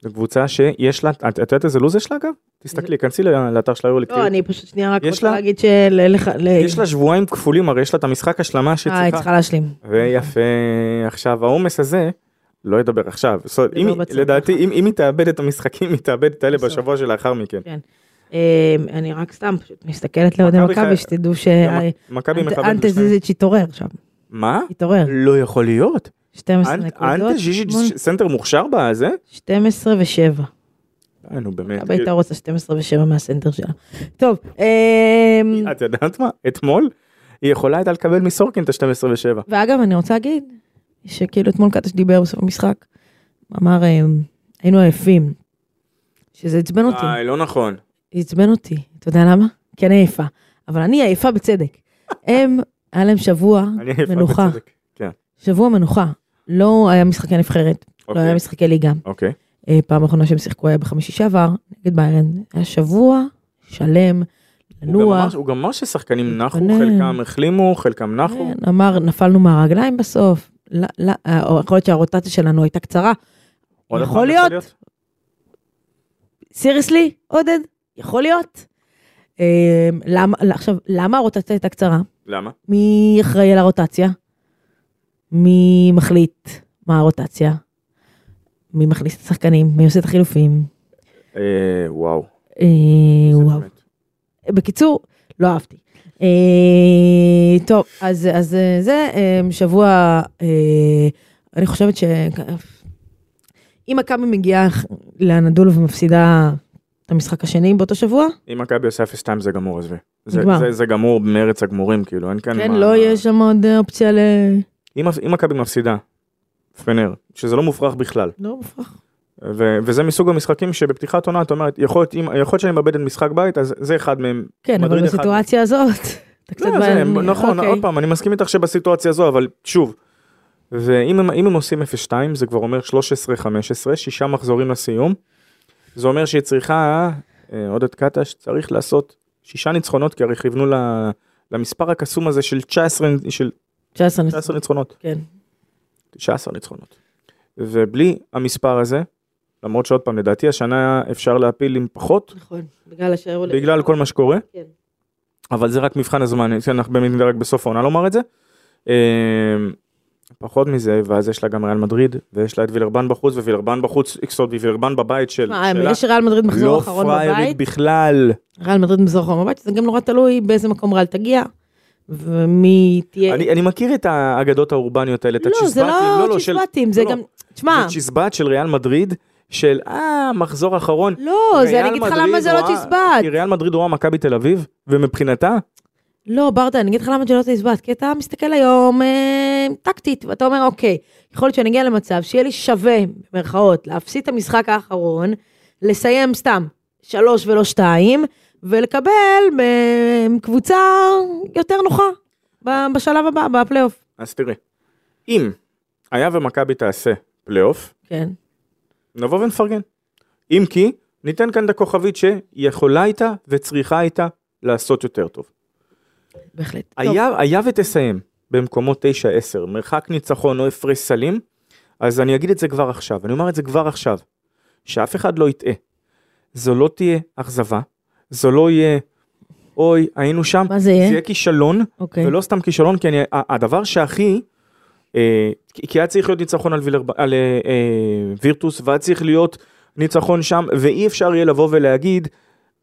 Speaker 3: זו קבוצה שיש לה, את, את יודעת איזה לו"ז יש לה אגב? תסתכלי, כנסי לאתר של היורליק.
Speaker 2: לא, אני פשוט שנייה רק
Speaker 3: יש
Speaker 2: רוצה
Speaker 3: לה-
Speaker 2: להגיד של... לך- ל-
Speaker 3: יש לה שבועיים כפולים, הרי יש לה את המשחק השלמה
Speaker 2: אה, היא
Speaker 3: שצריכה.
Speaker 2: צריכה להשלים.
Speaker 3: ויפה עכשיו העומס הזה לא ידבר עכשיו זאת אומרת, אם
Speaker 2: ידבר
Speaker 3: היא-
Speaker 2: בצד
Speaker 3: לדעתי
Speaker 2: ככה.
Speaker 3: אם אם היא תאבד את המשחקים היא תאבד את האלה
Speaker 2: בסוף.
Speaker 3: בשבוע שלאחר מכן.
Speaker 2: אה, אני רק סתם פשוט מסתכלת לאוהדי
Speaker 3: מכבי
Speaker 2: מכבי
Speaker 3: חי-
Speaker 2: שתדעו אה,
Speaker 3: מכבי מכבדת
Speaker 2: שאנטה
Speaker 3: לשניים.
Speaker 2: זיזיץ' התעורר שם.
Speaker 3: מה?
Speaker 2: התעורר.
Speaker 3: לא יכול להיות.
Speaker 2: 12
Speaker 3: אנ-
Speaker 2: נקודות.
Speaker 3: אנטה ז'יז'יץ'
Speaker 2: שמונה-
Speaker 3: סנטר מוכשר בזה?
Speaker 2: 12 ו-7.
Speaker 3: אה, נו באמת.
Speaker 2: מכבי הייתה רוצה 12 ו-7 מהסנטר שלה. טוב, אמ,
Speaker 3: את יודעת מה? אתמול היא יכולה הייתה לקבל מסורקין את ה-12 ו-7.
Speaker 2: ואגב, אני רוצה להגיד, שכאילו אתמול קטש דיבר בסוף המשחק, אמר, אמ, היינו עייפים. שזה עצבן אותי,
Speaker 3: לא נכון.
Speaker 2: זה עצבן אותי. אתה יודע למה? כי אני עייפה. אבל אני עייפה בצדק.
Speaker 3: *laughs*
Speaker 2: הם, היה להם שבוע,
Speaker 3: אני עייפה
Speaker 2: מנוחה.
Speaker 3: בצדק. כן.
Speaker 2: שבוע מנוחה. לא היה משחקי נבחרת, לא היה
Speaker 3: אוקיי.
Speaker 2: משחקי ליגה.
Speaker 3: אוקיי.
Speaker 2: אה, פעם אחרונה שהם שיחקו היה בחמישי שעבר, נגד ביירן. היה שבוע שלם,
Speaker 3: הוא גם אמר-
Speaker 2: לנוח.
Speaker 3: הוא גם אמר ששחקנים נחו,
Speaker 2: להתכונן.
Speaker 3: חלקם החלימו, חלקם נחו.
Speaker 2: כן, אמר, נפלנו מהרגליים בסוף. לא, לא, אה, או יכול להיות שהרוטציה שלנו הייתה קצרה.
Speaker 3: עוד
Speaker 2: יכול
Speaker 3: הפעם
Speaker 2: להיות. סיריסלי, עודד, יכול להיות. אה, למה, לא, עכשיו, למה הרוטציה הייתה קצרה?
Speaker 3: למה?
Speaker 2: מי אחראי על הרוטציה? מי מחליט מה הרוטציה? מי מכניס את השחקנים? מי עושה את החילופים?
Speaker 3: אה, וואו.
Speaker 2: אה,
Speaker 3: זה
Speaker 2: וואו.
Speaker 3: באמת.
Speaker 2: בקיצור, לא אהבתי. אה, טוב, אז, אז אה, זה אה, שבוע, אה, אני חושבת ש... אם מכבי מגיעה לאנדולו ומפסידה את המשחק השני באותו שבוע,
Speaker 3: אם מכבי עושה 0-2 זה גמור עזבי. זה,
Speaker 2: נגמר.
Speaker 3: זה, זה גמור מארץ הגמורים כאילו אין כאן
Speaker 2: כן,
Speaker 3: מה...
Speaker 2: לא יהיה שם עוד אה, אופציה ל...
Speaker 3: אם, אם מכבי מפסידה, פנר, שזה לא מופרך בכלל,
Speaker 2: לא מופרך.
Speaker 3: ו- וזה מסוג המשחקים שבפתיחת עונה את אומרת, יכול להיות אם- יכול להיות שאני מאבד את משחק בית, אז זה אחד מהם.
Speaker 2: כן, אבל
Speaker 3: מדריד אחד.
Speaker 2: בסיטואציה הזאת, *laughs* אתה קצת...
Speaker 3: לא, זה,
Speaker 2: בעניין.
Speaker 3: נכון,
Speaker 2: אוקיי.
Speaker 3: עוד פעם, אני מסכים איתך שבסיטואציה הזו, אבל שוב, ואם הם, אם הם עושים 0-2, זה כבר אומר 13-15, שישה מחזורים לסיום. זה אומר שהיא צריכה, אה, עודד קטש, צריך לעשות שישה ניצחונות, כי הרי כיוונו ל- למספר הקסום הזה של 19, של
Speaker 2: 19 נס-
Speaker 3: 19 ניצחונות.
Speaker 2: כן.
Speaker 3: 19 ניצחונות. ובלי המספר הזה, למרות שעוד פעם, לדעתי השנה אפשר להפיל עם פחות,
Speaker 2: נכון, בגלל אשר...
Speaker 3: בגלל כל מה שקורה.
Speaker 2: כן.
Speaker 3: אבל זה רק מבחן הזמן, כן, אנחנו באמת רק בסוף העונה לומר את זה. אה, פחות מזה, ואז יש לה גם ריאל מדריד, ויש לה את וילרבן בחוץ, ווילרבן בחוץ, איקסוד, ווילרבן בבית של...
Speaker 2: מה,
Speaker 3: שלה.
Speaker 2: יש ריאל מדריד מחזור
Speaker 3: לא
Speaker 2: אחרון
Speaker 3: פריירית
Speaker 2: בבית,
Speaker 3: בכלל.
Speaker 2: ריאל מדריד מחזור אחרון בבית, זה גם נורא תלוי באיזה מקום ריאל תגיע, ומי תהיה...
Speaker 3: אני אני מכיר את האגדות האורבניות האלה, את
Speaker 2: אה, לא, זה
Speaker 3: הצ'יזבטים,
Speaker 2: לא
Speaker 3: של-
Speaker 2: צ'יזבטים, זה
Speaker 3: לא, לא.
Speaker 2: גם... תשמע,
Speaker 3: זה צ'יזבט של ריאל מדריד, של אה, מחזור אחרון.
Speaker 2: לא, זה
Speaker 3: ריאל
Speaker 2: אני אגיד לך
Speaker 3: מדריד כן.
Speaker 2: למה זה לא
Speaker 3: רואה-
Speaker 2: צ'יזבט.
Speaker 3: כי ריאל מדריד רואה מכבי תל אביב, ומבחינתה,
Speaker 2: לא, ברדה, אני אגיד לך למה זה לא צ'יזבט, כי אתה מסתכל היום אה, טקטית, ואתה אומר, אוקיי, יכול להיות שאני אגיע למצב שיהיה לי שווה, במרכאות, להפסיד את המשחק האחרון, לסיים סתם שלוש ולא שתיים, ולקבל אה, קבוצה יותר נוחה ב- בשלב הבא, בפלייאוף.
Speaker 3: אז תראי, אם היה ומכבי תעשה פלייאוף,
Speaker 2: כן.
Speaker 3: נבוא ונפרגן. אם כי, ניתן כאן את הכוכבית שיכולה הייתה וצריכה הייתה לעשות יותר טוב.
Speaker 2: בהחלט. טוב,
Speaker 3: היה, היה ותסיים במקומות 9-10, מרחק ניצחון או הפרש סלים, אז אני אגיד את זה כבר עכשיו, אני אומר את זה כבר עכשיו, שאף אחד לא יטעה. זו לא תהיה אכזבה, זו לא יהיה, אוי, היינו שם,
Speaker 2: מה זה
Speaker 3: זה
Speaker 2: יהיה?
Speaker 3: יהיה כישלון,
Speaker 2: אוקיי.
Speaker 3: ולא סתם כישלון, כי אני, ה- הדבר שהכי, אה, כי- כי היה צריך להיות ניצחון על, וילר, על אה, אה, וירטוס, והיה צריך להיות ניצחון שם, ואי אפשר יהיה לבוא ולהגיד,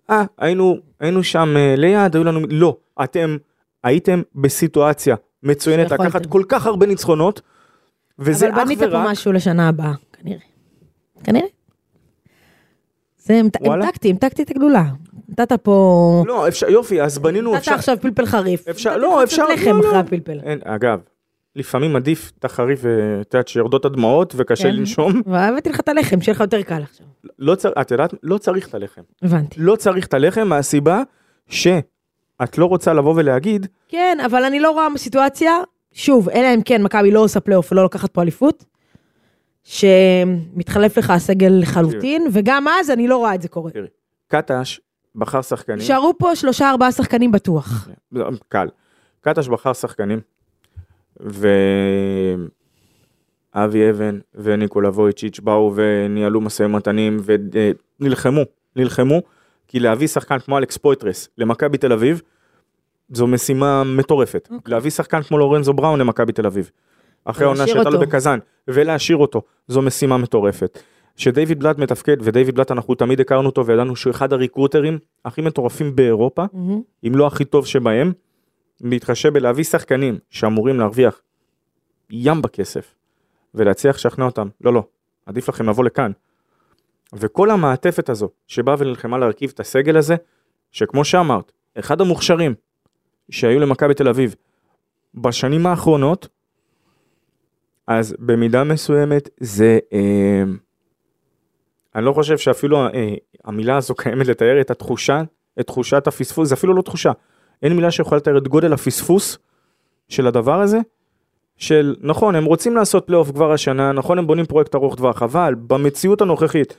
Speaker 3: אה, היינו, היינו שם אה, ליד, היו לנו, לא, אתם הייתם בסיטואציה מצוינת,
Speaker 2: שיכולתם.
Speaker 3: לקחת כל כך הרבה ניצחונות, וזה
Speaker 2: נכון, כן. אבל
Speaker 3: אך
Speaker 2: בנית פה
Speaker 3: ורק,
Speaker 2: משהו לשנה הבאה, כנראה. כנראה. זה, הם הם
Speaker 3: וואלה.
Speaker 2: טקטי, הם טקטי את הגדולה. נתת פה...
Speaker 3: לא, אפשר, יופי, אז בנינו,
Speaker 2: נתת
Speaker 3: אפשר,
Speaker 2: עכשיו פלפל חריף.
Speaker 3: אפשר-
Speaker 2: נתתי
Speaker 3: לא,
Speaker 2: לך קצת
Speaker 3: אפשר-
Speaker 2: לחם
Speaker 3: לא, לא.
Speaker 2: אחרי הפלפל.
Speaker 3: אין, אגב, לפעמים עדיף את החריף, אה, את יודעת, שיורדות הדמעות וקשה
Speaker 2: כן.
Speaker 3: לנשום,
Speaker 2: והבאתי לך את הלחם, שיהיה לך יותר קל עכשיו.
Speaker 3: לא צר, את יודעת, לא צריך את הלחם.
Speaker 2: הבנתי.
Speaker 3: לא צריך את הלחם מהסיבה שאת לא רוצה לבוא ולהגיד,
Speaker 2: כן, אבל אני לא רואה סיטואציה, שוב, אלא אם כן מכבי לא עושה פלייאוף ולא לוקחת פה אליפות, שמתחלף לך הסגל לחלוטין, וגם אז אני לא רואה את זה קורה.
Speaker 3: כן, קטש בחר שחקנים,
Speaker 2: נשארו פה שלושה ארבעה שחקנים בטוח.
Speaker 3: זה קל, קטש בחר שחקנים, ואבי אבן וניקולה וויצ'יץ' באו וניהלו משאים ומתנים ונלחמו, נלחמו, כי להביא שחקן כמו אלכס פויטרס למכבי תל אביב, זו משימה מטורפת.
Speaker 2: אוקיי.
Speaker 3: להביא שחקן כמו לורנזו בראון למכבי תל אביב, אחרי העונה
Speaker 2: ולהשאיר
Speaker 3: שהייתה לו
Speaker 2: אותו.
Speaker 3: בקזאן, ולהשאיר אותו, זו משימה מטורפת. שדייוויד בלאט מתפקד, ודייוויד בלאט אנחנו תמיד הכרנו אותו וידענו שהוא אחד הריקרוטרים הכי מטורפים באירופה,
Speaker 2: מהמם.
Speaker 3: אם לא הכי טוב שבהם, בהתחשב בלהביא שחקנים שאמורים להרוויח ים בכסף, ולהצליח לשכנע אותם, לא, לא, עדיף לכם לבוא לכאן. וכל המעטפת הזו, שבאה ונלחמה להרכיב את הסגל הזה, שכמו שאמרת, אחד המוכשרים שהיו למכבי תל אביב בשנים האחרונות, אז במידה מסוימת זה, אה, אני לא חושב שאפילו אה, המילה הזו קיימת לתאר את התחושה, את תחושת הפספוס, זה אפילו לא תחושה, אין מילה שיכולה לתאר את גודל הפספוס של הדבר הזה, של נכון, הם רוצים לעשות פלייאוף כבר השנה, נכון, הם בונים פרויקט ארוך טווח, אבל במציאות הנוכחית,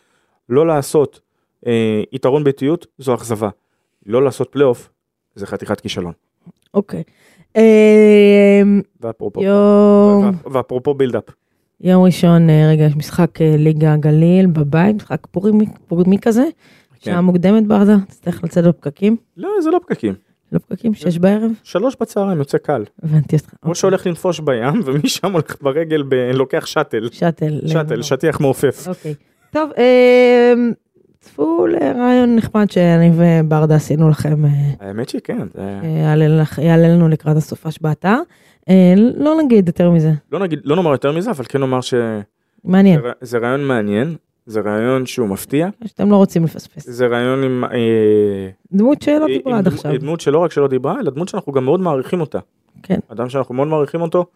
Speaker 3: לא לעשות אה, יתרון ביתיות זו אכזבה. לא לעשות פלייאוף זה חתיכת כישלון.
Speaker 2: אוקיי. אמ,
Speaker 3: ואפרופו,
Speaker 2: יום...
Speaker 3: וה- ואפרופו בילדאפ.
Speaker 2: יום ראשון, אה, רגע, יש משחק אה, ליגה גליל בבית, משחק פורימי פורימי כזה.
Speaker 3: כן.
Speaker 2: שעה מוקדמת ברדה, תצטרך לצאת בפקקים.
Speaker 3: לא, זה לא פקקים.
Speaker 2: לא פקקים, שש בערב?
Speaker 3: שלוש בצהריים יוצא קל.
Speaker 2: הבנתי אותך.
Speaker 3: כן.
Speaker 2: אוקיי.
Speaker 3: כמו שהולך לנפוש בים, *laughs* ומשם הולך ברגל, ב... לוקח שאטל.
Speaker 2: שאטל. אה, לא.
Speaker 3: שאטל, שטיח מעופף.
Speaker 2: אוקיי. טוב, אמ, צפו לרעיון נחמד שאני וברדה עשינו לכם, אה,
Speaker 3: האמת שכן, זה-
Speaker 2: אה, יעלה לך- יעלה לנו לקראת הסופש באתר. אה, לא נגיד יותר מזה,
Speaker 3: לא נגיד, לא נאמר יותר מזה, אבל כן נאמר שזה
Speaker 2: מעניין,
Speaker 3: רעיון מעניין, זה רעיון שהוא מפתיע,
Speaker 2: שאתם לא רוצים לפספס.
Speaker 3: זה רעיון עם... אה,
Speaker 2: דמות שלא
Speaker 3: היא-
Speaker 2: לא דיברה
Speaker 3: היא
Speaker 2: עד
Speaker 3: דמו-
Speaker 2: עכשיו.
Speaker 3: היא דמות שלא רק שלא דיברה, אלא דמות שאנחנו גם מאוד מעריכים אותה.
Speaker 2: כן.
Speaker 3: אדם שאנחנו מאוד מעריכים אותו,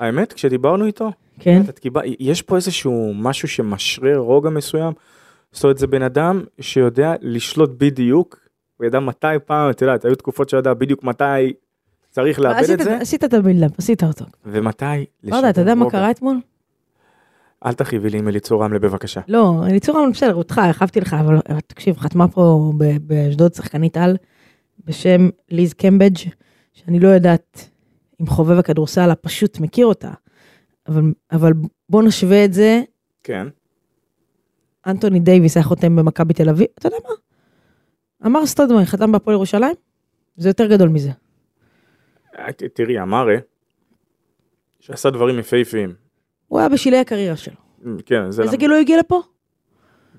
Speaker 3: והאמת, כשדיברנו איתו,
Speaker 2: כן?
Speaker 3: את קיבל... יש פה איזשהו משהו שמשרה רוגע מסוים. זאת אומרת, זה בן אדם שיודע לשלוט בדיוק, הוא ידע מתי פעם, את יודעת, היו תקופות שידע בדיוק מתי צריך לאבד
Speaker 2: עשית-
Speaker 3: את זה,
Speaker 2: עשית את הבילדאפ, עשית אותו.
Speaker 3: ומתי
Speaker 2: לא יודע, אתה יודע מה
Speaker 3: רוגע.
Speaker 2: קרה אתמול?
Speaker 3: אל תכאיבי לי עם אליצור רמלה בבקשה.
Speaker 2: לא, אליצור אמנון בסדר, אותך, הרחבתי לך, אבל אבל תקשיב, חתמה פה ב- באשדוד שחקנית על בשם ליז קמבג', שאני לא יודעת אם חובב הכדורסל הפשוט מכיר אותה, אבל, אבל בוא נשווה את זה,
Speaker 3: כן.
Speaker 2: אנטוני דייוויס היה חותם במכבי תל אביב, אתה יודע מה? אמר סטודמן, חתם בהפועל ירושלים, זה יותר גדול מזה.
Speaker 3: אה, ת- תראי, אמרה, שעשה דברים יפהפיים.
Speaker 2: הוא היה בשלהי הקריירה שלו.
Speaker 3: אמ, כן, זה...
Speaker 2: איזה
Speaker 3: למ-
Speaker 2: גיל הוא הגיע לפה?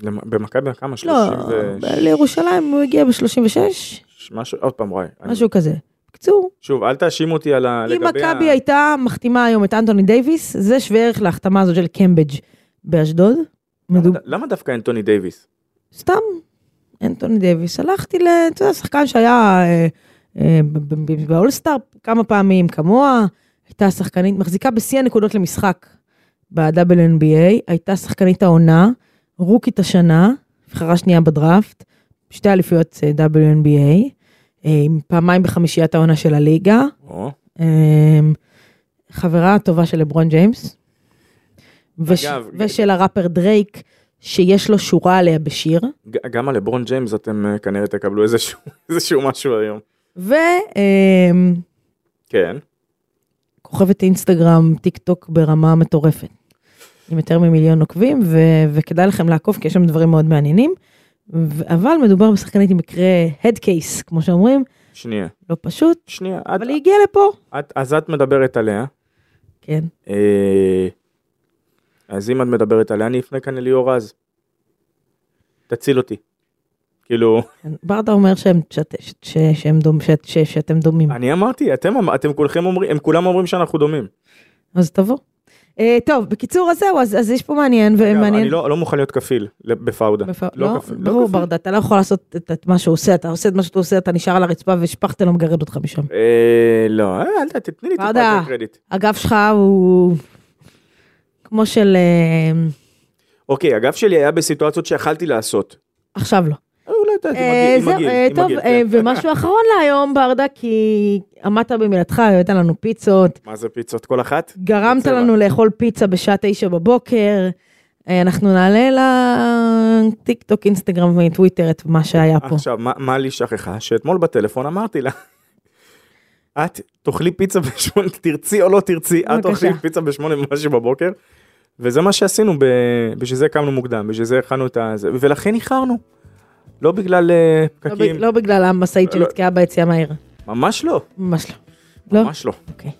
Speaker 3: למ- במכבי כמה?
Speaker 2: לא,
Speaker 3: 30 ו...
Speaker 2: לירושלים הוא הגיע ב-36,
Speaker 3: משהו, עוד פעם, וואי. אני-
Speaker 2: משהו כזה. בקיצור,
Speaker 3: שוב, אל תאשימו אותי על ה...
Speaker 2: אם
Speaker 3: לגבי ה-
Speaker 2: מכבי הייתה מחתימה היום את אנטוני דייוויס, זה שווה ערך להחתמה הזאת של קמבג' באשדוד.
Speaker 3: למה
Speaker 2: מדוב-
Speaker 3: ד- למה דווקא אנטוני דייוויס?
Speaker 2: סתם, אנטוני דייוויס. הלכתי ל... אתה יודע, שחקן שהיה אה, אה, ב- ב- ב- באולסטאר כמה פעמים כמוה, הייתה שחקנית, מחזיקה בשיא הנקודות למשחק ב-WNBA, הייתה שחקנית העונה, רוקית השנה, נבחרה שנייה בדראפט, שתי אליפויות אה, WNBA, אה, עם פעמיים בחמישיית העונה של הליגה.
Speaker 3: או.
Speaker 2: אמ, חברה טובה של לברון ג'יימס, וש,
Speaker 3: אגב,
Speaker 2: ושל הראפר דרייק, שיש לו שורה עליה בשיר,
Speaker 3: ג- גם על לברון ג'יימס אתם אה, כנראה תקבלו איזשהו, *laughs* איזשהו משהו היום.
Speaker 2: וכוכבת
Speaker 3: כן.
Speaker 2: אינסטגרם, טיק טוק ברמה מטורפת. עם יותר ממיליון עוקבים, ו, וכדאי לכם לעקוב, כי יש שם דברים מאוד מעניינים. ו- אבל מדובר בשחקנית עם מקרה head case, כמו שאומרים,
Speaker 3: שנייה.
Speaker 2: לא פשוט,
Speaker 3: שנייה. את,
Speaker 2: אבל היא הגיעה לפה.
Speaker 3: את, אז את מדברת עליה.
Speaker 2: כן.
Speaker 3: אה, אז אם את מדברת עליה, אני אפנה כאן לליאור רז. תציל אותי. כאילו, *laughs*
Speaker 2: ברדה אומר שהם, שאת, ש, ש, שהם דומ, ש, ש, שאתם דומים.
Speaker 3: אני אמרתי, אתם, אמ- אתם כולכם אומרים, הם כולם אומרים שאנחנו דומים.
Speaker 2: אז תבוא. אה, טוב, בקיצור, אז זהו, אז, אז יש פה אה, מעניין,
Speaker 3: אגב,
Speaker 2: ומעניין.
Speaker 3: אני לא, לא מוכן להיות כפיל ל- בפאודה.
Speaker 2: בפ...
Speaker 3: לא
Speaker 2: לא,
Speaker 3: כפיל, לא
Speaker 2: ברור,
Speaker 3: כפיל.
Speaker 2: ברדה, אתה לא יכול לעשות את, את מה שהוא עושה, אתה עושה את מה שאתה עושה, אתה נשאר על הרצפה ושפכת לא מגרד אותך משם.
Speaker 3: אה, לא, אה, אל ת- תתני לי טיפה את
Speaker 2: ברדה.
Speaker 3: הקרדיט.
Speaker 2: הגב שלך הוא כמו של... אה,
Speaker 3: אוקיי, הגב שלי היה בסיטואציות שיכלתי לעשות.
Speaker 2: עכשיו לא.
Speaker 3: אה, אולי, אתה יודע,
Speaker 2: אה,
Speaker 3: עם
Speaker 2: זהו,
Speaker 3: הגיל,
Speaker 2: אה,
Speaker 3: עם
Speaker 2: טוב,
Speaker 3: הגיל,
Speaker 2: אה,
Speaker 3: כן. *laughs*
Speaker 2: ומשהו אחרון להיום, ברדה, כי עמדת במילתך, הבאת לנו פיצות,
Speaker 3: מה זה פיצות כל אחת?
Speaker 2: גרמת
Speaker 3: בצבע.
Speaker 2: לנו לאכול פיצה בשעה תשע בבוקר. אה, אנחנו נעלה לטיק טוק, אינסטגרם וטוויטר את מה שהיה פה.
Speaker 3: עכשיו, מה- מה לי שכחה? שאתמול בטלפון אמרתי לה, את תאכלי פיצה בשמונה, תרצי או לא תרצי, את
Speaker 2: בבקשה.
Speaker 3: תאכלי פיצה בשמונה ומשהו בבוקר. וזה מה שעשינו, ב- בשביל זה קמנו מוקדם, בשביל זה הכנו את ה... זה, ולכן איחרנו. לא בגלל אה,
Speaker 2: לא ב-
Speaker 3: פקקים,
Speaker 2: לא בגלל המשאית
Speaker 3: לא.
Speaker 2: שנתקעה ביציאה מהעיר.
Speaker 3: ממש לא,
Speaker 2: ממש לא. לא?
Speaker 3: ממש לא.
Speaker 2: אוקיי.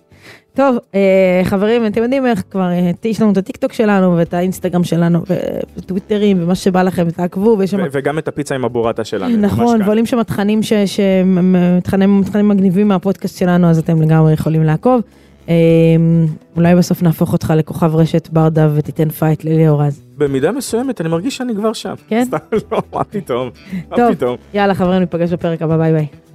Speaker 2: טוב, אה, חברים, אתם יודעים איך כבר, אה, יש לנו את הטיקטוק שלנו ואת האינסטגרם שלנו ו- וטוויטרים ומה שבא לכם, תעקבו, ויש שם...
Speaker 3: ו- וגם את הפיצה עם הבורטה שלנו. ממש
Speaker 2: *clears throat* נכון,
Speaker 3: ככה.
Speaker 2: ועולים שם תכנים ש- שהם אה, תכנים תכנים מגניבים מהפודקאסט שלנו, אז אתם לגמרי יכולים לעקוב. אה, אולי בסוף נהפוך אותך לכוכב רשת ברדה ותיתן פייט לליאור רז.
Speaker 3: במידה מסוימת אני מרגיש שאני כבר שם. *laughs*
Speaker 2: כן?
Speaker 3: סתם, לא, מה פתאום, מה
Speaker 2: טוב.
Speaker 3: פתאום.
Speaker 2: יאללה, חברים, ניפגש בפרק הבא, ביי ביי.